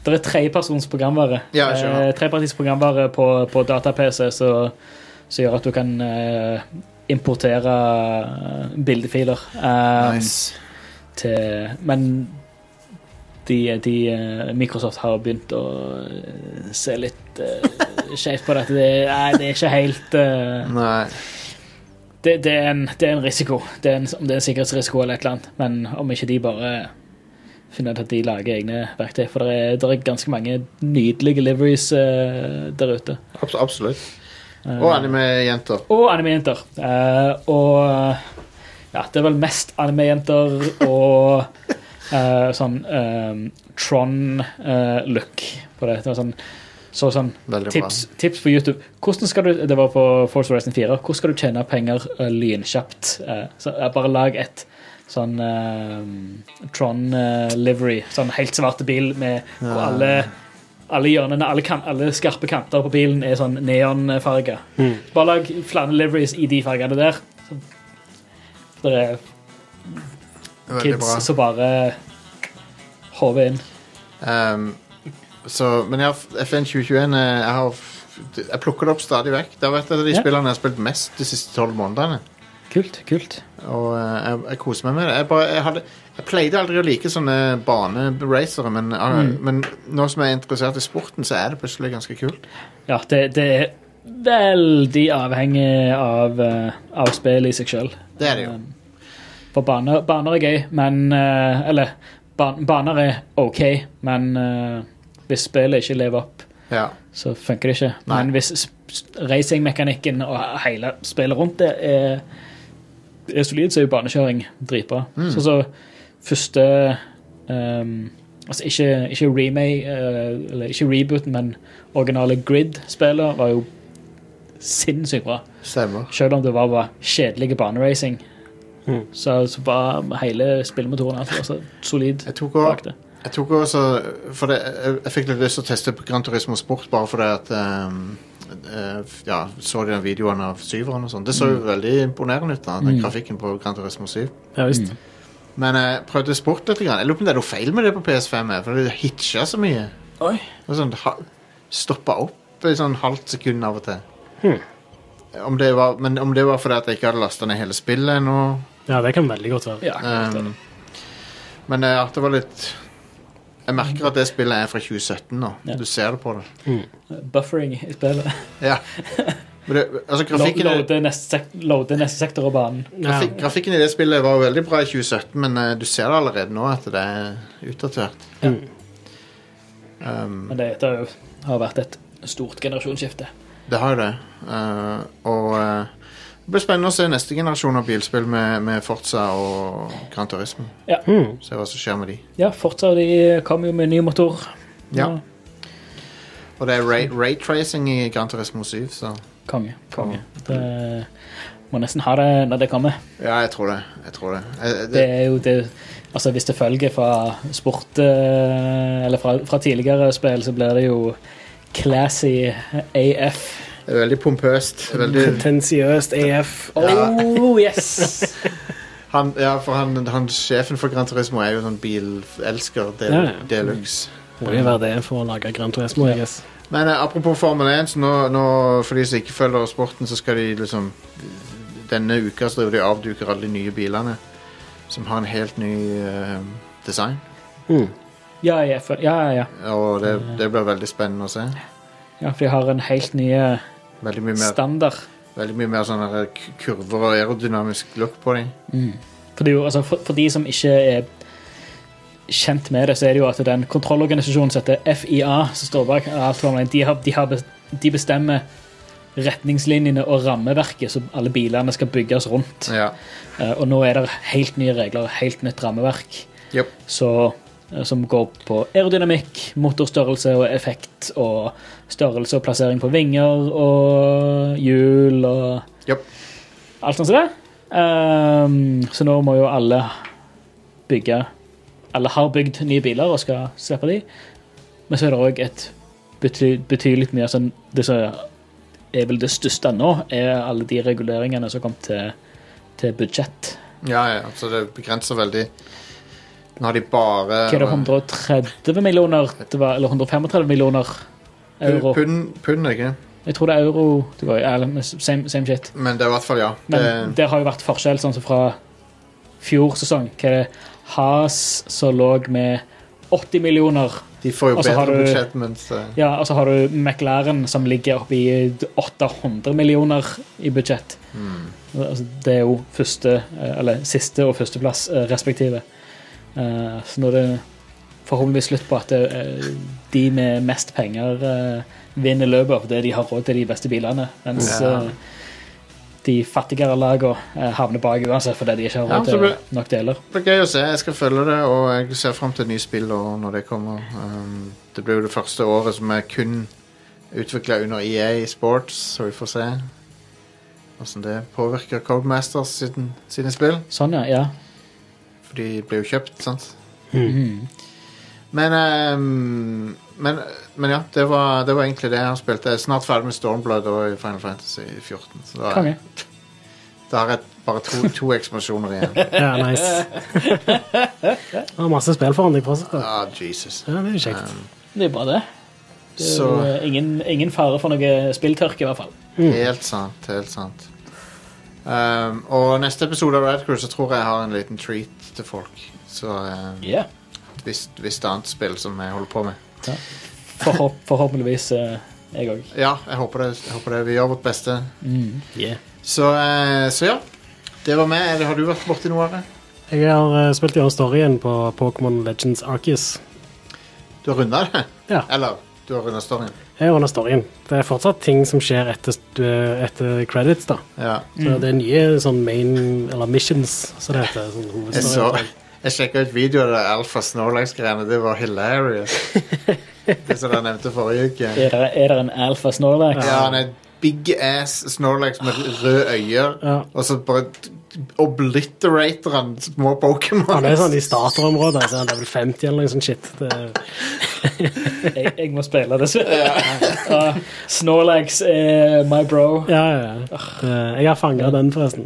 Det er tredjepersons programvare.
Ja, jeg skjønner.
Eh, tredjepartis programvare på, på data-PC som gjør at du kan eh, importere eh, bildefiler. eh,
Nice.
til, men de, de, eh, Microsoft har begynt å eh, se litt uh, skjevt på dette. Det, nei, det er ikke helt eh,
Nei.
det, det, er en, det er en risiko. Det er en, om det er en sikkerhetsrisiko eller et eller annet. Men om ikke de bare finner ut at de lager egne verktøy. For det er, det er ganske mange nydelige liveries eh, der ute.
Abs absolutt. Og anime-jenter.
Og anime-jenter. Eh, og ja, det er vel mest anime-jenter og eh, sånn Tron-look på det. det var sånn, så sånn
Veldig bra.
tips, tips på YouTube. Hvordan skal du, det var på Force Horizon 4. Hvordan skal du tjene penger eh, lynkjapt? Eh, så, eh, bare lag et sånn eh, Tron-livery. sånn helt svarte bil med hvor alle alle hjørnene, alle, kan, alle skarpe kanter på bilen er sånn neonfarge.
Hmm.
Bare lag flere liveries i de fargene der. Så, det er
Veldig
kids
bra.
som bare håver inn.
Um, så, men jeg har f- FN 2021 eh, jeg, har, f- jeg plukker det opp stadig vekk. Det har vært et av de
Ja.
spillene jeg har spilt mest de siste tolv månedene.
Kult, kult.
Og eh, jeg, jeg koser meg med det. Jeg, bare, jeg, hadde, jeg pleide aldri å like sånne baneracere, men, eh, men nå som jeg er interessert i sporten, så er det plutselig ganske kult.
Ja, det, det er veldig avhengig av, eh, av spillet i seg sjøl.
Det er det jo.
For baner, baner er gøy, men eh, Eller, ban, baner er OK, men eh, hvis spillet ikke lever opp
Ja.
så funker det ikke.
Nei.
Men hvis sp- s- racingmekanikken og hele spillet rundt det er, er solid, så er jo banekjøring dritbra.
Mm.
Sånn som første ehm, Altså ikke, ikke remake, eh, eller ikke rebooten, men originale Grid-spillet var jo sinnssykt bra.
Stemmer.
Selv om det var bare kjedelige baneracing. Så, så var hele spillmotoren alt var så solid
Jeg tok og
bak det.
Jeg tok også for det, jeg, jeg fikk litt lyst til å teste Gran Turismo Sport bare fordi at ehm, eh, Ja, så de den videoen av syveren og sånn. Det så jo veldig imponerende ut, da, den grafikken på Gran Turismo 7.
Ja visst.
Men jeg prøvde sport litt. Grann. Jeg lurer på om det er noe feil med det på PS5, jeg, for det hitcha så mye.
Oi.
Og sånn, ha, Stoppa opp i sånn halvt sekund av og til. Om det var, men om det var fordi at jeg ikke hadde lasta ned hele spillet ennå
Ja, det kan veldig godt være.
Ja, klart det.
Ehm, Men eh, at det var litt Jeg merker at det spillet er fra 2017 nå.
Ja.
Du ser det på det.
Buffering i spillet.
Ja. Men det altså, grafikken,
Lo- Loade neste, sek loade neste sektor av banen.
grafik,
Ja.
grafikken i det spillet var jo veldig bra i 2017, men eh, du ser det allerede nå at det er utdatert.
Mm.
Ehm,
Men det, det har jo har vært et stort generasjonsskifte.
Det har jo det. Eh, og eh, det blir spennende å se neste generasjon av bilspill med, med Forza og Gran Turismo.
Ja.
Mm.
Se hva som skjer med de.
Ja, fortsatt de kom jo med ny motor.
Ja. Og det er ray- raytracing i Gran Turismo 7, så
Konge. konge. Det, Må nesten ha det når det kommer.
Ja, jeg tror det. Jeg tror det. Eh,
Det
det
er jo det Altså, hvis det følger fra sport eh, Eller fra, fra tidligere spill, så blir det jo classy AF.
det er veldig pompøst. Veldig,
Tensiøst AF.
Oh, yes!
han, ja, for han, han, sjefen for Gran Turismo er jo sånn bilelsker del,
Ja, ja.
deluxe.
Må jo være det for å lage Gran Turismo, jeg guess.
Men eh, apropos Formel 1, så nå, nå, for de som ikke følger sporten, så skal de liksom Denne uka så driver de og avduker alle de nye bilene som har en helt ny eh, design.
Ja, ja, for, ja, ja, ja.
Og det, det blir veldig spennende å se.
ja. For de har en helt ny eh,
Veldig mye mer,
standard.
veldig mye mer sånne her k- kurver og aerodynamisk look på dem.
For, det er jo, altså, for, for de som ikke er kjent med det, så er det jo at den kontrollorganisasjonen som heter FIA, som står bak alt Formel 1, de, har, de, har, bes- de bestemmer retningslinjene og rammeverket som alle bilene skal bygges rundt.
Ja.
Eh, Og nå er det helt nye regler, helt nytt rammeverk,
Yep.
så, eh, som går på aerodynamikk, motorstørrelse og effekt, og størrelse og plassering på vinger og hjul og
Yep.
alt sånt som det. Ehm, så nå må jo alle bygge Alle har bygd nye biler og skal slippe de. Men så er det òg et bety betydelig mye sånn Det som er vel det største nå, er alle de reguleringene som kom til, til budsjett.
Ja, ja, så det begrenser veldig Nå har de bare
Hva er det, 130 millioner? Det var, eller 135 millioner euro?
Pund, pund, ikke?
Jeg tror det er euro. Det var, ja, eller same, same shit.
Men det er i hvert fall, ja.
Men
Det,
det har jo vært forskjell sånn som fra fjor sesong. Hva er det? Has som lå med 80 millioner.
de får jo
Og så
bedre
altså, har du-
budsjett, mens eh,
Ja, og så har du McLaren som ligger oppe i 800 millioner i budsjett.
Mm.
Altså, det er jo første, eh, eller siste og førsteplass eh, respektive. Eh, Så nå er det forhåpentligvis slutt på at eh, de med mest penger eh, vinner løpet fordi de har råd til de beste bilene, mens
Ja.
eh, de fattigere lagene eh, havner bak uansett fordi de ikke har
Ja,
råd
så
til
blir-
nok deler.
Det blir gøy å se. Jeg skal følge det, og jeg ser fram til nye spill og når det kommer. Um, det blir jo det første året som er kun utvikla under EA Sports, så vi får se åssen det påvirker Codemasters sine, sine spill.
Sånn, ja. ja.
For de ble jo kjøpt, sant? Men, ehm, men, men ja, det var, det var egentlig det jeg har spilt. Jeg er snart ferdig med Stormblood og Final Fantasy 14. Så da,
Konge.
da har jeg bare to, to ekspansjoner igjen.
Ja, nice. Har masse spill foran deg fortsatt. da.
Ah, Jesus. Um,
Ja, det er jo kjekt.
Det er bare det. Det er jo
Så
eh, ingen, ingen fare for noe spilltørke, i hvert fall.
Mm.
helt sant, helt sant. Ehm, og neste episode av Red Crew så tror jeg jeg har en liten treat til folk. Så ehm,
Ja.
et visst, visst annet spill som jeg holder på med.
Forhåp, forhåpentligvis eh, jeg òg.
Ja, jeg håper det. Jeg håper det. Vi gjør vårt beste.
Yeah.
Så, eh, så ja. Det var meg. Eller har du vært borti noe av det?
Jeg har eh, spilt gjennom storyen på Pokémon Legends Arceus.
Du har runda det?
Ja.
Eller du har runda storyen?
Jeg er under storyen. Det er fortsatt ting som skjer etter, st- eh, etter credits, da.
Ja.
Så det er nye sånn main Eller missions, som det heter. Sånn
Jeg så
hovedstory.
Jeg sjekka ut videoen av det Alfa Snorlax-greiene. Det var hilarious. det som jeg nevnte forrige uke.
Er det, er det en alfa Snorlax?
Ja, han er big ass Snorlax med røde øyne,
Ja.
og så bare obliterater han små
Han er sånn
Pokémon.
i starterområdet. Så er han level 50 eller noe sånt shit. Det er,
Jeg, jeg må spille, dessverre. Ja. Snorlax er my bro.
ja, ja, ja. Det- Jeg har fanga den, forresten.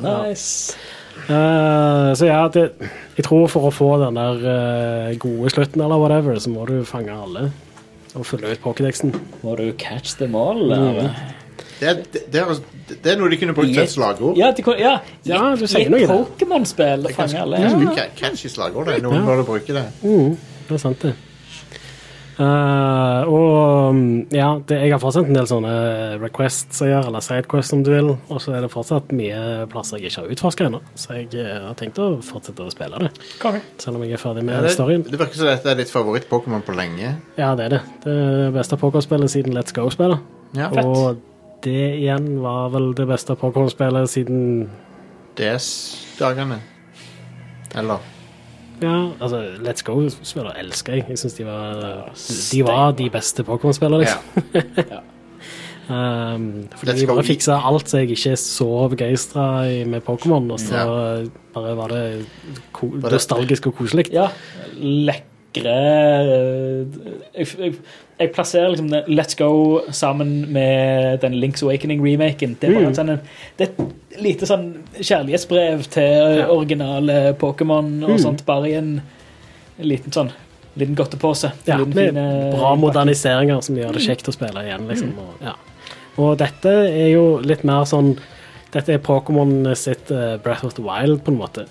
Nice.
Eh, så ja, det, jeg tror for å få den der eh, gode slutten, eller whatever, så må du fange alle. Og fylle ut pokédexen.
Må du catch them all? eller?
Det, er- det, det, er- det er noe de kunne brukt som et slagord.
Ja, de, kan- ja.
Ja, du
I-
sier
i
noe i det. Mm.
Pokémon-spill fanger alle. Ja.
Ganske ca- catchy slagord. det. Noen burde bruke det.
Det er sant, det. Eh, og mm, ja, det, jeg har fortsatt en del sånne requests jeg gjør, eller sidequests om du vil. Og så er det fortsatt mye plasser jeg ikke har utforska ennå, så jeg eh, har tenkt å fortsette å spille det.
Konge.
Selv om jeg er ferdig
Ja,
med
det,
storyen.
det virker som dette er ditt favoritt-Pokémon på lenge.
Ja, det er det. Det er det beste pokerspillet siden Let's Go-spillet.
Ja.
Og det igjen var vel det beste pokerspillet siden
DS-dagene. Eller
Ja, altså, Let's Go-spillere elsker jeg. Jeg syns de var De var de beste Pokémon-spillere, liksom. Um, fordi
Let's
de
go
bare
eat.
fiksa alt så jeg ikke er så begeistra i- med Pokémon, og så bare var det ko
Var det-
nostalgisk og koselig.
Ja, lekre eh, jeg, jeg, jeg plasserer liksom den Let's Go sammen med den Link's Awakening-remaken. Det er bare
Mm.
en sånn, det er et lite sånn kjærlighetsbrev til
Ja.
originale Pokémon og
Mm.
sånt, bare i en liten sånn liten godtepose.
Ja,
Liten
med
fin, eh,
bra moderniseringer som gjør det kjekt å spille igjen, liksom. Og, ja. og dette er jo litt mer sånn Dette er Pokémon sitt eh, Breath of the Wild, på en måte.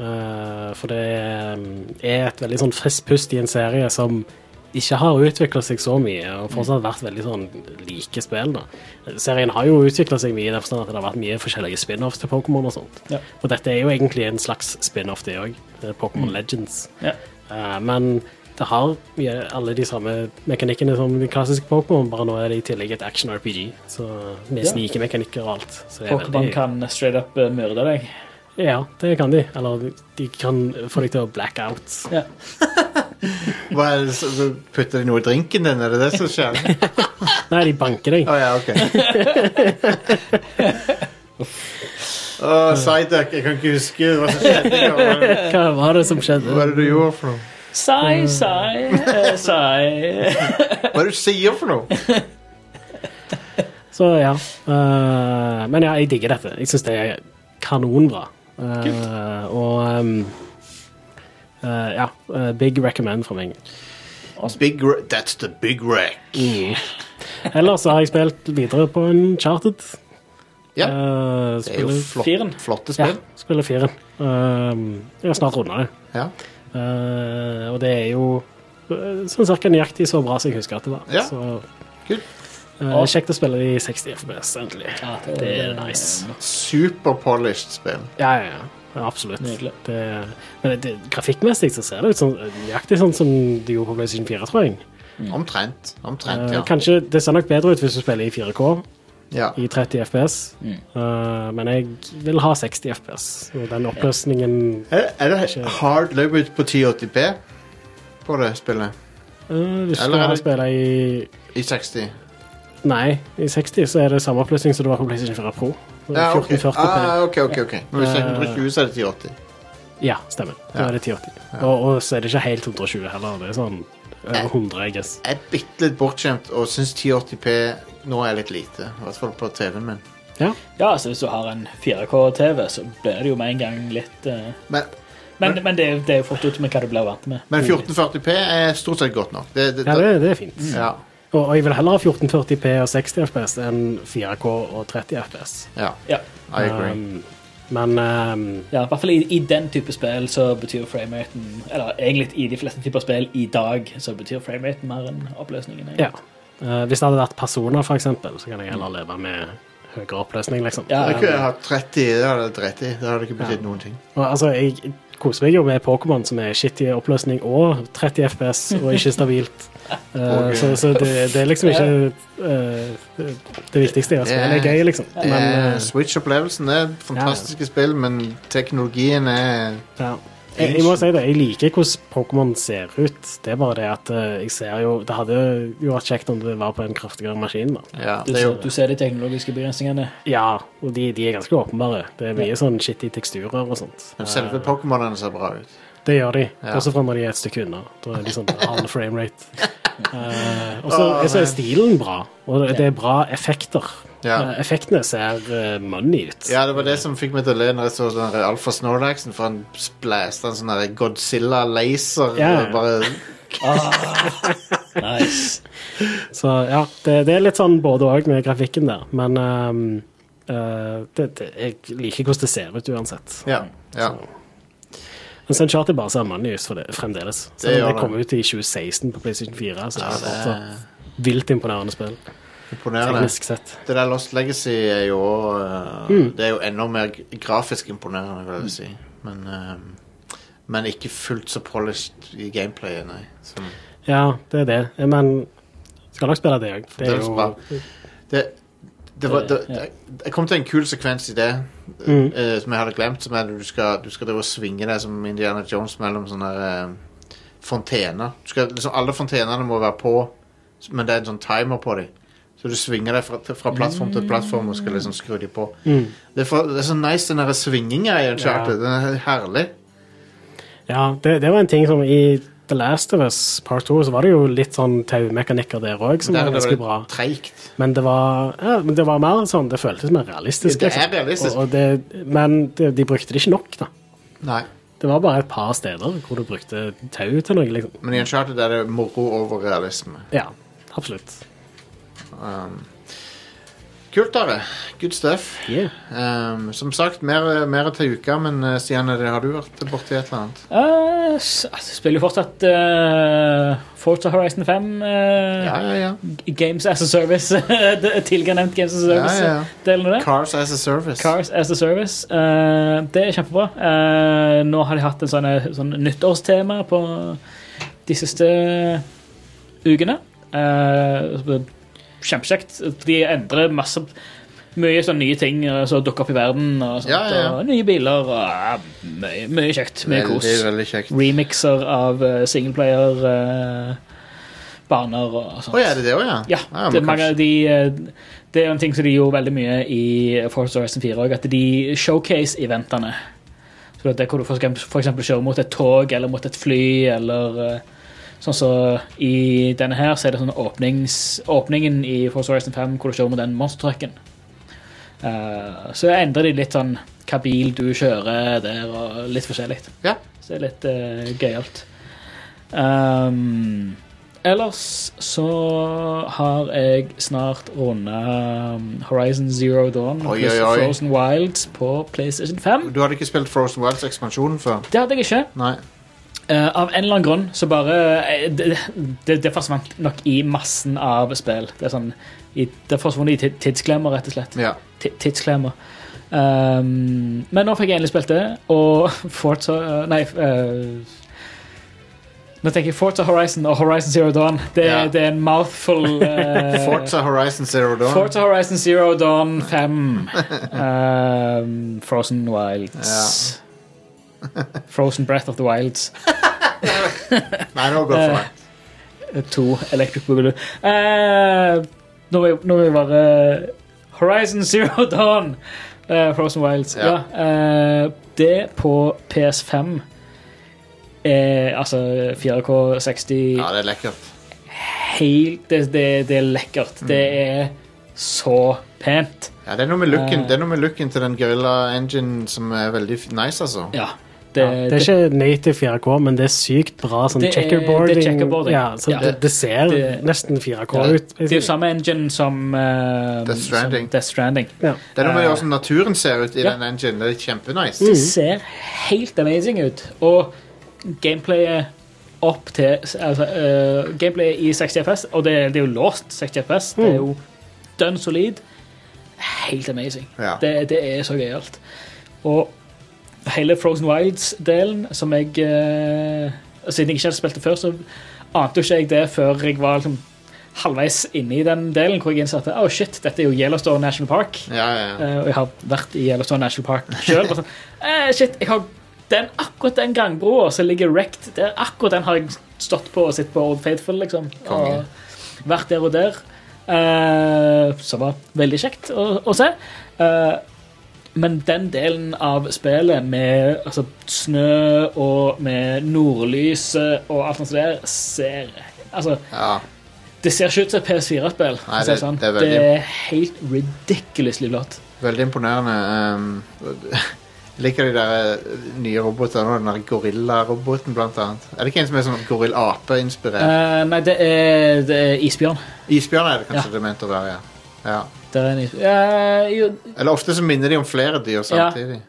Eh, for det mm, er et veldig sånn friskt pust i en serie som ikke har utvikla seg så mye, og fortsatt vært veldig sånn like spill. da. Serien har jo utvikla seg mye i den forstand at det har vært mye forskjellige spin-offs til Pokémon og sånt.
Ja.
Og dette er jo egentlig en slags spin-off, det òg. Pokémon Legends.
Ja.
Eh, men det har mye, alle de samme mekanikkene som de klassiske Pokémon, bare nå er det i tillegg et action-RPG. Så med
Ja.
snikemekanikker og alt. Så det er
Pokémon kan straight up eh, myrde deg.
Ja, det kan de. Eller de kan få deg til å black out.
Ja.
Hva er det, så- putter de noe i drinken din? Er det det som skjer? Å
Nei, de banker deg.
ja, ok. Å, Psyduck, jeg kan ikke huske hva som skjedde. Hva-
Hva var det
Hva
som
er
skjedde?
det du gjorde for noe?
Sai,
Mm.
sai, eh, sai.
Hva er det du sier for noe?
Så ja. eh, men ja, jeg digger dette. Jeg syns det er kanonbra. Eh, og um, eh, ja, eh, big recommend for meg.
Big re That's the big wreck.
Ellers så har jeg spilt videre på Uncharted.
Ja,
Eh,
det er jo
spiller-
flott,
Firen.
flotte
Ja,
spill.
spiller firen. Ehm, jeg har snart runda det.
Ja.
Eh, og det er jo eh, sånn cirka nøyaktig så bra som jeg husker at det var.
Ja.
Så,
Kult.
eh,
Awesome.
kjekt å spille i 60 FPS, endelig. det er nice.
Superpolished spill.
Ja, ja, ja. Ja, Absolutt.
Nydelig.
Det, men det, det, grafikkmessig så ser det ut som, nøyaktig sånn som det gjorde på PlayStation 4, tror jeg.
Mm. Omtrent. Omtrent,
Eh,
ja.
Kanskje Det ser nok bedre ut hvis du spiller i 4K
ja.
i 30 FPS,
Mm.
Eh, men jeg vil ha 60 FPS. Og den oppløsningen
Er, er det hard low-out på 1080p på det spillet?
eh, Hvis
Eller er
du
det-
har spille i
I 60?
Nei, i 60 så er det samme oppløsning som det var på PlayStation 4 Pro. Så det er
Ja, ok.
1440p.
Ah, ok, ok, ok. Men hvis det er
Eh,
120, så er det 1080.
Ja, stemmer. Da
Ja.
er det 1080. Og, og så er det ikke helt 120 heller. Det er sånn over 100, jeg guess.
Jeg er bitte litt bortskjemt og syns 1080p nå er litt lite. I hvert fall på TV-en min.
Ja.
Ja, altså hvis du har en 4K-TV, så blir det jo med en gang litt eh,
Men,
Men, men det, er- det er jo fort ut med hva du blir vant med.
men 1440p er stort sett godt nok. Det, det,
Mm. ja, det, det er fint.
ja,
Og, og jeg vil heller ha 1440p og 60 FPS enn 4K og 30 FPS.
ja,
Ja,
I agree.
Um, men um,
ja, I hvert fall i, i den type spill så betyr frameraten Eller egentlig i de fleste typer spill i dag så betyr frameraten mer enn oppløsningen. egentlig.
ja. Eh, hvis det hadde vært personer, for eksempel, så kan jeg heller leve med høyere oppløsning, liksom.
Ja,
Jeg kunne hatt 30, det hadde jeg drept i. Det hadde ikke betydd noen ting.
Og, altså, jeg koser meg jo med Pokémon, som er shitty oppløsning og 30 FPS og ikke stabilt. Eh,
Ok.
Så, så det, det er liksom ikke eh, det viktigste i å spille.
Eh,
Det er gøy, liksom.
Det
Men,
er-
eh,
Switch-opplevelsen er fantastiske spill, men teknologien er
ja. jeg, jeg må si det, jeg liker hvordan Pokémon ser ut. Det er bare det at eh, jeg ser jo Det hadde jo vært kjekt om det var på en kraftigere maskin, da.
Ja,
Du,
det er jo
du ser de teknologiske begrensningene.
Ja, og de, de er ganske åpenbare. Det er mye sånn shitty teksturer og sånt.
Men Selve
Eh,
Pokémonene ser bra ut.
Det gjør de.
Ja.
Også fra når de er et stykke unna. Da er de sånn annen frame rate. Eh, og så
Åh,
og så
nei.
er stilen bra, og det- det er bra effekter.
Ja.
Eh, effektene ser eh, money ut.
Ja, det var det som fikk meg til å le når jeg så den der Alfa Snorlaxen, for han splæste en sånn der Godzilla-laser.
Ja, ja.
og Bare
Nice.
Så ja, det, det er litt sånn både òg med grafikken der, men ehm, eh, det, det, jeg liker hvordan det ser ut uansett.
Ja. ja.
Men Suncharted bare ser money ut for det, fremdeles. Så
Det
det,
gjør det.
kom ut i 2016 på PlayStation 4, så det er
det
fortsatt
er
vilt imponerende spill,
imponerende.
teknisk sett.
Det der Lost Legacy er jo eh, Det er jo enda mer grafisk imponerende, vil jeg si. Men, eh, men ikke fullt så polished i gameplayet, nei. Som,
Ja, det er det, men skal nok spille det òg. Det er
Fremdeles bra.
jo
det, det var, det,
Ja.
det, jeg kom til en kul sekvens i det
Mm.
eh, som jeg hadde glemt. Som er at du skal, du skal drive og svinge deg som Indiana Jones mellom sånne eh, fontener. Du skal, liksom, alle fontenene må være på, men det er en sånn timer på dem. Så du svinger deg fra, fra plattform til plattform og skal liksom skru de på.
Mm.
Det er, for, det er så nice, den der svinginga i Uncharted. Den er herlig.
Ja, det, det var en ting som i The Last of Us Part 2 så var det jo litt sånn taumekanikker der òg, som
Der
var
er det
ganske
veldig
bra.
treigt.
Men det var ja, men det var mer sånn, det føltes mer realistisk. liksom.
Det er realistisk.
Og, og det, men det, de brukte det ikke nok, da.
Nei.
Det var bare et par steder hvor du brukte tau til noe, liksom.
Men i Uncharted er det moro over realisme.
Ja, absolutt.
Kult, Are. Good stuff.
Yeah.
Ehm, som sagt, mer, mer til uka, men eh, Stian, er det- har du vært borti et eller annet?
Eh, s- altså, spiller jo fortsatt uh, Forza Horizon 5. eh,
Ja, ja, ja.
Games as a Service. Det- Tidligere nevnt Games as a Service.
Ja, ja, ja.
Delen av det.
Cars as a service.
Cars as a Service. eh, det er kjempebra. Eh, nå har de hatt en sånn, sånn nyttårstema på de siste ukene. Uh, Kjempekjekt. De endrer masse mye sånn nye ting eh, som dukker opp i verden. Og, sånt,
Ja, ja, ja.
og nye biler. Og, ja, mye, mye kjekt. Mye
veldig,
kos.
veldig kjekt. Å
Remixer av uh, singleplayer-baner eh, og sånt.
ja, er det det òg, ja?
Ja,
Ah, men
det, er mange,
kanskje-
av de, eh, det er jo en ting som de gjorde veldig mye i Forza Horizon 4 òg, at de showcase-eventene. Så det er hvor du for eksempel for eksempel kjører mot et tog eller mot et fly eller eh, Sånn som I denne her så er det sånn åpnings, åpningen i Forza Horizon 5 hvor du kjører mot den monstertrucken. Eh, så endrer de litt sånn hva bil du kjører der, og litt forskjellig.
Ja.
Så det er litt eh, gøyalt. Um, ellers så har jeg snart runda Horizon Zero Dawn
Oi,
pluss
oi, oi.
Frozen Wilds på PlayStation 5.
Du hadde ikke spilt Frozen Wilds-ekspansjonen før?
Det hadde jeg ikke.
Nei.
Eh, av en eller annen grunn så bare eh, det, det, det forsvant nok i massen av spill. Det er sånn i, Det forsvant i ti- tidsklemmer, rett og slett.
Ja.
Ti- tidsklemmer. Um, men nå fikk jeg endelig spilt det, og Forza Nei. eh, nå tenker jeg Forza Horizon og Horizon Zero Dawn. Det,
Ja.
det er en mouthful. eh,
Forza Horizon Zero Dawn.
Forza Horizon Zero Dawn 5. Um, Frozen Wilds. Frozen Breath of the Wilds.
Nei, nå går det for
Eh,
meg.
To Electric Boogaloo. Eh, nå må jeg- nå må jeg bare eh, Horizon Zero Dawn. eh, Frozen Wilds. Ja.
Ja.
eh, det på PS5 er altså 4K 60
Ja, det er lekkert.
helt det, det, det er lekkert. Det er så pent.
Ja, det er noe med looken,
Eh.
det er noe med looken til den Gorilla Engine som er veldig f- nice, altså.
Ja.
Det, det er ikke native 4K, men det er sykt bra sånn
Det er- det er
checkerboarding.
checkerboarding.
Ja, så
Ja.
Det, det ser
Det-
nesten 4K
Ja,
ut.
Det er jo samme engine som eh,
Death Stranding.
som Death Stranding.
Ja.
Det er noe med hvordan naturen ser ut i
Eh. ja. Mm.
den engine. Det er kjempenice.
Det ser helt amazing ut. Og gameplayet opp til altså, eh, Gameplayet i 60 FPS, og det, det er jo låst 60 FPS, det er jo dønn solid. Helt amazing.
Ja.
Det, det er så gøyalt. Og hele Frozen Wilds-delen, som jeg eh, Siden jeg ikke hadde spilt det før, så ante jo ikke jeg det før jeg var liksom halvveis inne i den delen, hvor jeg innså at oh shit, dette er jo Yellowstone National Park.
Ja, ja, ja.
Eh, og jeg har vært i Yellowstone National Park sjøl. Sånn, eh, shit, jeg har den, akkurat den gangbroa som ligger wrecked der, akkurat den har jeg stått på og sett på Old Faithful, liksom.
Konge.
Og vært der og der. Eh, som var veldig kjekt å, å se. Eh, men den delen av spillet med altså, snø og med nordlyset og alt sånt der, ser Altså,
ja.
det ser ikke ut som et PS4-spill.
Nei,
det,
det-
sånn.
det er
det,
veldig-
er helt ridiculously flott.
Veldig imponerende. ehm, jeg liker de der eh, nye robotene. og Den der gorillaroboten, blant annet. Er det ikke en som er sånn gorillape-inspirert?
Eh, nei, det er, det er isbjørn.
Isbjørn er det
Eh, ja.
kanskje det er ment å være, ja. ja.
Det er en is Eh, jo,
Eller ofte så minner de om flere dyr
Ja. Mm.
samtidig.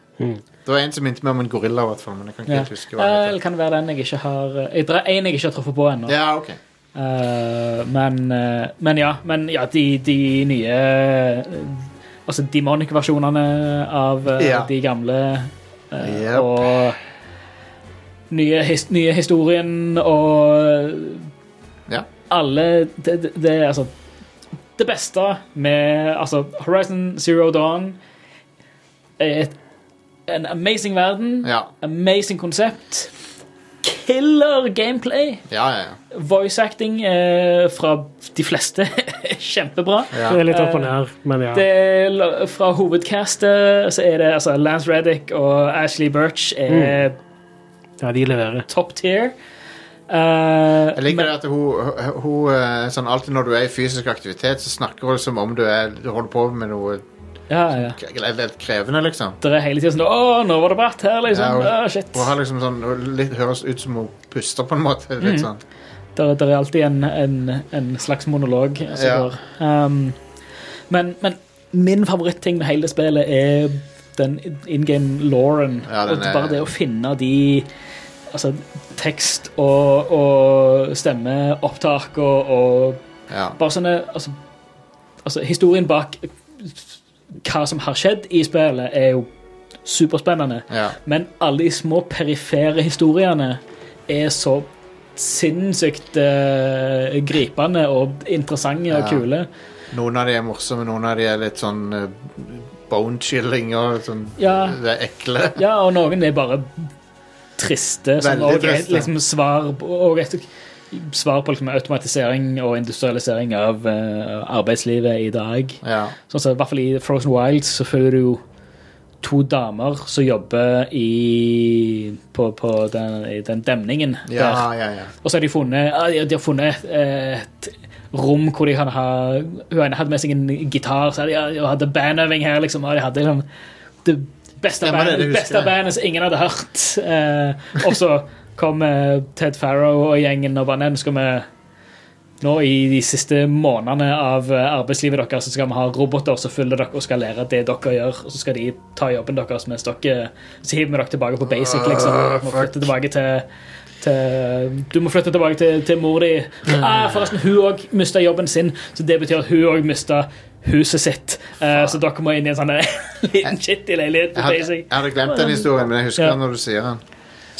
Det var en som minte meg om en gorilla, i hvert fall, men jeg kan ikke
ja.
helt huske hva
Eh,
det
Eller
heter.
kan det være den jeg ikke har eh, jeg, Det er en jeg ikke har truffet på ennå.
Ja, ok.
Eh, men, eh, men ja. Men ja, de, de nye eh, Altså Demonic-versjonene av eh,
Ja.
de gamle eh,
Yep.
Og nye, his, nye historien og
Ja.
alle det, det, det er altså Det beste med altså, Horizon Zero Dawn er et, en amazing verden,
Ja.
amazing konsept, killer gameplay.
Ja, ja, ja.
Voice acting eh, fra de fleste er kjempebra.
Ja.
Det er litt opp og ned, men ja.
Det er, la- fra hovedcastet så er det altså, Lance Reddick og Ashley Birch er
Mm.
ja de leverer.
top tier. Eh,
Jeg liker
men-
det at hun, hun eh, sånn Alltid når du er i fysisk aktivitet, så snakker hun som om du, er, du holder på med noe
Ja, ja.
k- eller litt krevende, liksom.
Det er hele tiden sånn Å, nå var det bratt her, liksom.
Ja,
Å, shit.
Hun har liksom sånn, hun litt, høres ut som hun puster, på en måte.
Mhm.
Litt sånn.
Der, der er alltid en, en, en slags monolog. Altså,
Ja.
går. um, men, men min favorittting med hele spillet er den in game Lauren.
Ja, den er-
Bare det å finne de Altså tekst og, og stemmeopptak og, og
Ja.
bare sånne altså, altså, historien bak hva som har skjedd i spillet, er jo superspennende.
ja.
Men alle de små perifere historiene er så sinnssykt eh, gripende og interessante og
Ja.
kule.
Noen av de er morsomme, noen av de er litt sånn eh, bone-chilling og sånn
Ja.
Det er ekle.
Ja, og noen er bare triste. Sånn,
Veldig
og er
triste.
Liksom svar, på- og et, svar på liksom, automatisering og industrialisering av eh, arbeidslivet i dag.
Ja.
Sånn som I hvert fall i Frozen Wilds så følger du jo to damer som jobber i, på, på den, i den demningen
Ja,
der.
ja, ja.
Og så har de funnet, ja, de- de har funnet eh, et rom hvor de kan ha Hun ene hadde med seg en gitar, så hadde de ja, hadde bandøving her, liksom. Og de hadde liksom det beste,
Stemmer det,
bandet-
det husker
beste
jeg.
bandet som ingen hadde hørt. Eh, og så kom eh, Ted Farrow og gjengen og bare Nei, nå skal vi nå i de siste månedene av eh, arbeidslivet deres så skal vi ha roboter som følger dere og skal lære det dere gjør, og så skal de ta jobben deres mens dere Så hiver vi dere tilbake på basic, liksom.
Ah,
Må
fuck.
flytte tilbake til til, du må flytte tilbake til, til mor di.
Mm.
Ah, forresten, hun òg mista jobben sin, så det betyr at hun òg mista huset sitt. Eh, så dere må inn i en sånn eh, liten shitty leilighet.
Jeg
på
hadde,
Basic.
jeg hadde glemt den historien, men jeg husker
Ja.
den når du sier den.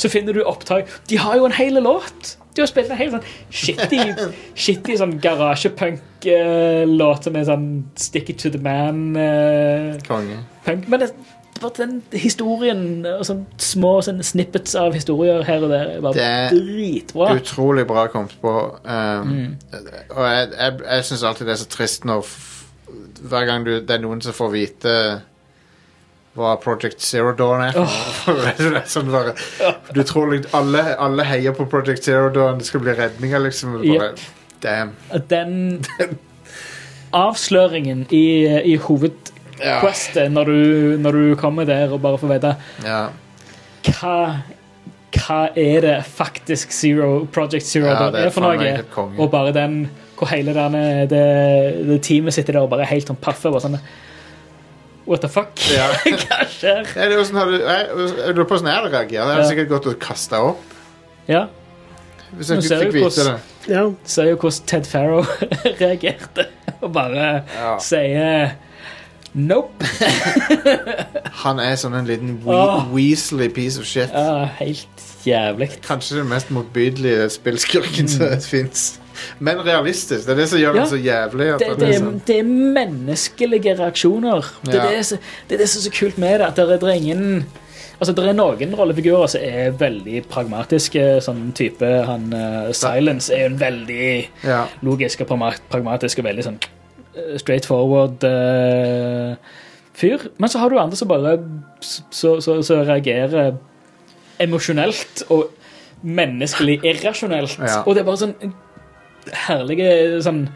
Så finner du opptak. De har jo en hel låt! De har spilt en hel sånn shitty, shitty sånn garasjepunk-låt som er sånn Stick it to the eh, man-punk.
Konge.
Men det, bare den historien og sånn små sånn snippets av historier her og der er bare
Det er
dritbra.
Utrolig bra kommet på.
Mm.
Um, Og jeg, jeg, jeg syns alltid det er så trist når f hver gang du, det er noen som får vite hva Project Zero Dawn er. det er sånn bare, du tror litt- alle, alle heier på Project Zero Dawn, det skal bli redninga, liksom. og Bare, Damn.
At den avsløringen i, i hovedquestet, når, du, når du kommer der og bare får vite
Ja.
hva, hva er det faktisk Zero, Project Zero
Ja,
Dawn
det er
er for
faen
noe?
meg helt konge.
Og bare den hvor hele denne, det, det teamet sitter der og bare er helt sånn paffe. Bare sånn, What the fuck?
Ja.
hva skjer?
Nei, det er jo sånn, har du, jeg, jeg lurer på hvordan jeg hadde reagert. Jeg hadde
Ja.
sikkert gått og kasta opp
Ja,
hvis
Nå
jeg
ser
fikk
vi
vite det.
Ja.
hvordan- Ser jo hvordan Ted Farrow reagerte og bare
Ja.
sier nope.
Han er sånn en liten we
Åh.
weasley piece of shit.
Ja, helt jævlig.
Kanskje den mest motbydelige spillskurken som fins. Men realistisk. Det er det som gjør
Mm. Ja.
den så jævlig. At
det,
han
det,
er
er,
sånn.
det er menneskelige reaksjoner. Det,
Ja.
er det, som- det er det som er så kult med det. At det er, det er ingen Altså, det er noen rollefigurer som er veldig pragmatiske. Sånn type han eh, Silence er en veldig
ja.
logisk og pragma- pragmatisk og veldig sånn eh, straight forward eh, fyr. Men så har du andre som bare s- så, så, så reagerer emosjonelt og menneskelig irrasjonelt.
Ja.
Og det er bare sånn herlige sånn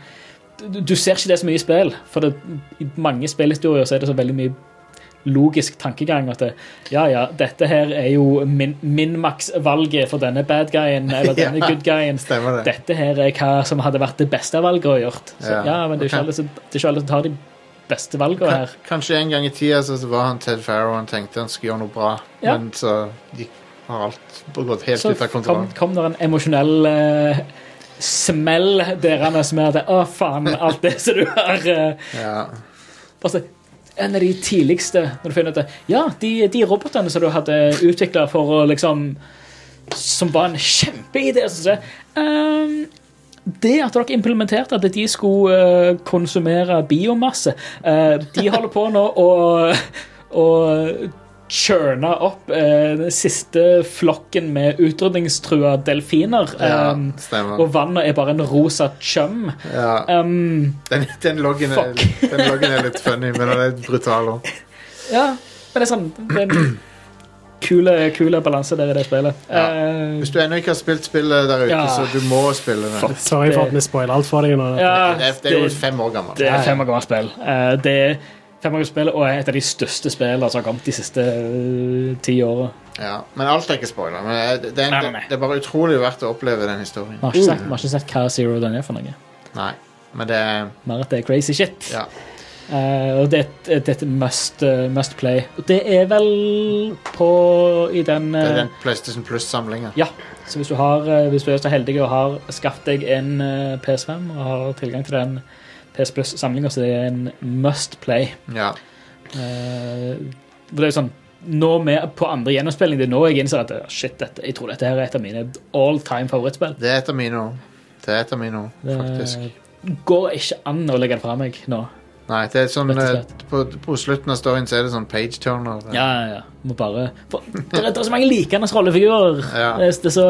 du, du ser ikke det så mye i spill, for det, i mange spillhistorier så er det så veldig mye logisk tankegang at det, ja, ja, dette her er jo min, min maks-valget for denne bad guyen eller denne
Ja.
good guyen
Stemmer det.
dette her er hva som hadde vært det beste valget å gjort. Så, ja.
Ja.
men det er, ikke alle som, det er ikke alle som tar de beste valgene
Kan,
her.
kanskje en gang i tida så så var han Ted Farrow han tenkte han skulle gjøre noe bra,
Ja.
men så gikk, har alt gått helt
Så
ut av
kom,
kontroll.
kom det en emosjonell eh, smell derene som er at Å, faen, alt det som du har eh,
Ja.
altså, En av de tidligste når du finner ut det, Ja, de, de robotene som du hadde utvikla for å liksom Som var en kjempeidé. Sånn, um, det at dere implementerte at de skulle eh, konsumere biomasse eh, De holder på nå å å churna opp eh, den siste flokken med utrydningstrua delfiner.
Ja,
Um,
stemmer.
og vannet er bare en rosa chum.
Ja.
Um,
Den, den, loggen er,
Fuck.
den loggen er litt funny, men den er brutal òg.
ja, men det er sånn det er en kule, kule balanse der i det spillet.
Ja.
Eh,
Hvis du ennå ikke har spilt spillet der ute,
Ja.
så du må spille det.
Fuck.
Sorry for at vi spoiler alt for deg nå.
ja,
Det er, det er jo fem år gammelt.
Det er fem år gammelt spill. Eh, det er fem år gammelt spill, og er et av de største spillene som har kommet de siste eh, ti årene.
Ja. Men alt er ikke spoiler. Men det, det,
Nei,
er,
nei,
det,
nei. Uh.
det er bare utrolig verdt å oppleve den historien.
Vi har ikke sett, vi har ikke sett hva Zero Dawn er for noe.
Nei, men det er
Mer at det er crazy shit.
Ja.
Eh, og det er et- det er et must, eh, must play. Og det er vel på i den,
Det
eh,
er den PlayStation Plus-samlinga.
Ja, så hvis du, har, eh, hvis du er så heldig og har skaffet deg en eh, PS5 og har tilgang til den PS Plus-samlinga, så det er en must play.
Ja.
Eh, for det er jo sånn Nå med, på andre gjennomspilling det er nå jeg innser at eh, shit, dette, jeg tror dette her er et av mine all time favorittspill.
Det er et av mine òg. Det er et av mine òg,
Det
faktisk.
Eh, går ikke an å legge det fra meg nå.
Nei, det er sånn
Rett og
eh, på, på slutten av storyen så er det sånn page turner.
Ja, ja, ja. Må bare for, det, er, det er så mange likende rollefigurer.
Ja.
Det, er- det er så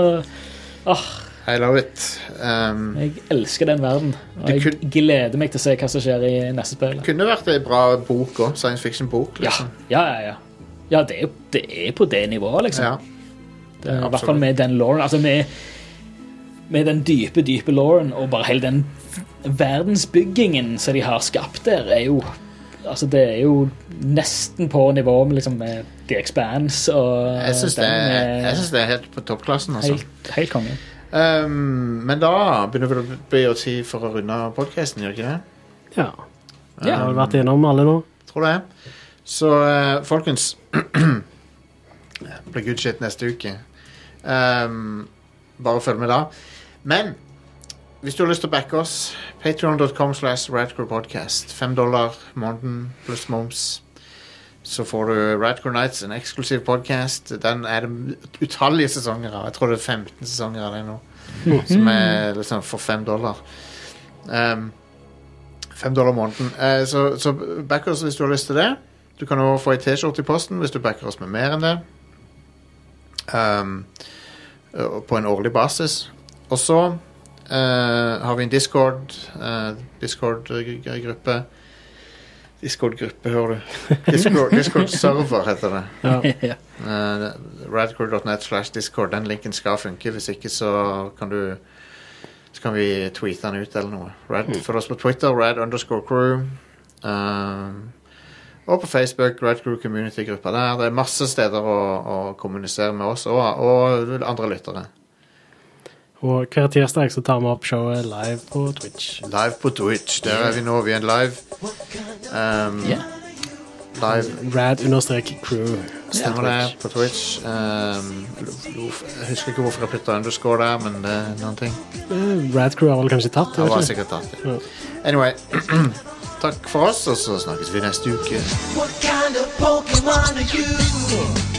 I love it. Um,
Jeg elsker den verden. Og
Det
jeg gleder meg til å se hva som skjer i neste spill.
det kunne vært ei bra bok òg. Science fiction-bok.
Ja,
Liksom.
ja, ja. ja. ja det, er, jo- det er på det nivået, liksom.
Ja.
det er, I hvert fall
absolutt.
med den lauren. Altså med, med den dype, dype lauren og bare hele den verdensbyggingen som de har skapt der, er jo Altså, det er jo nesten på nivå med, liksom, med The Expanse og
Jeg syns det,
den eh,
er-
er
jeg synes det er helt på toppklassen, altså.
helt, helt konge.
Um, men da begynner vel å bli å tid for å runde podkasten, gjør ikke det?
Ja.
Ja.
Har vi vært innom alle nå?
Tror det. Så eh, folkens Det blir good shit neste uke. Um, bare følg med da. Men hvis du har lyst til å backe oss, patreon.com slash radcrewpodcast. Fem dollar måneden pluss moms. Så får du Radcrew Nights, en eksklusiv podkast. Den er det utallige sesonger av. Jeg tror det er 15 sesonger av det nå. Som er liksom for fem dollar. Um, Fem dollar måneden. Eh, så, så back oss hvis du har lyst til det. Du kan også få ei T-skjorte i posten hvis du backer oss med mer enn det. Um, eh, på en årlig basis. Og så eh, har vi en Discord eh, Discord-gruppe. Discord-gruppe, hører du. Discord- Discord-server heter det.
Ja.
ja.
Eh, Radcore.net slash discord. Den linken skal funke. Hvis ikke, så kan du Så kan vi tweete den ut eller noe. Rad, Følg oss på Twitter, rad underscore crew. Um, og på Facebook, Rad Crew Community-gruppa der. Det er masse steder å, å kommunisere med oss og, og andre lyttere.
Og hver tirsdag så tar vi opp showet live på Twitch.
Live på Twitch. Der er vi nå. Vi er live. Um,
Ja.
Live
Rad understrek crew.
Stemmer det, på Twitch. Um, jeg husker ikke hvorfor jeg putta underscore der, men det er noen ting.
Eh, Rad crew har vel kanskje tatt?
Han
vet
var
ikke.
sikkert tatt det. Anyway, takk for oss, og så snakkes vi neste uke.
What kind of Pokemon are you?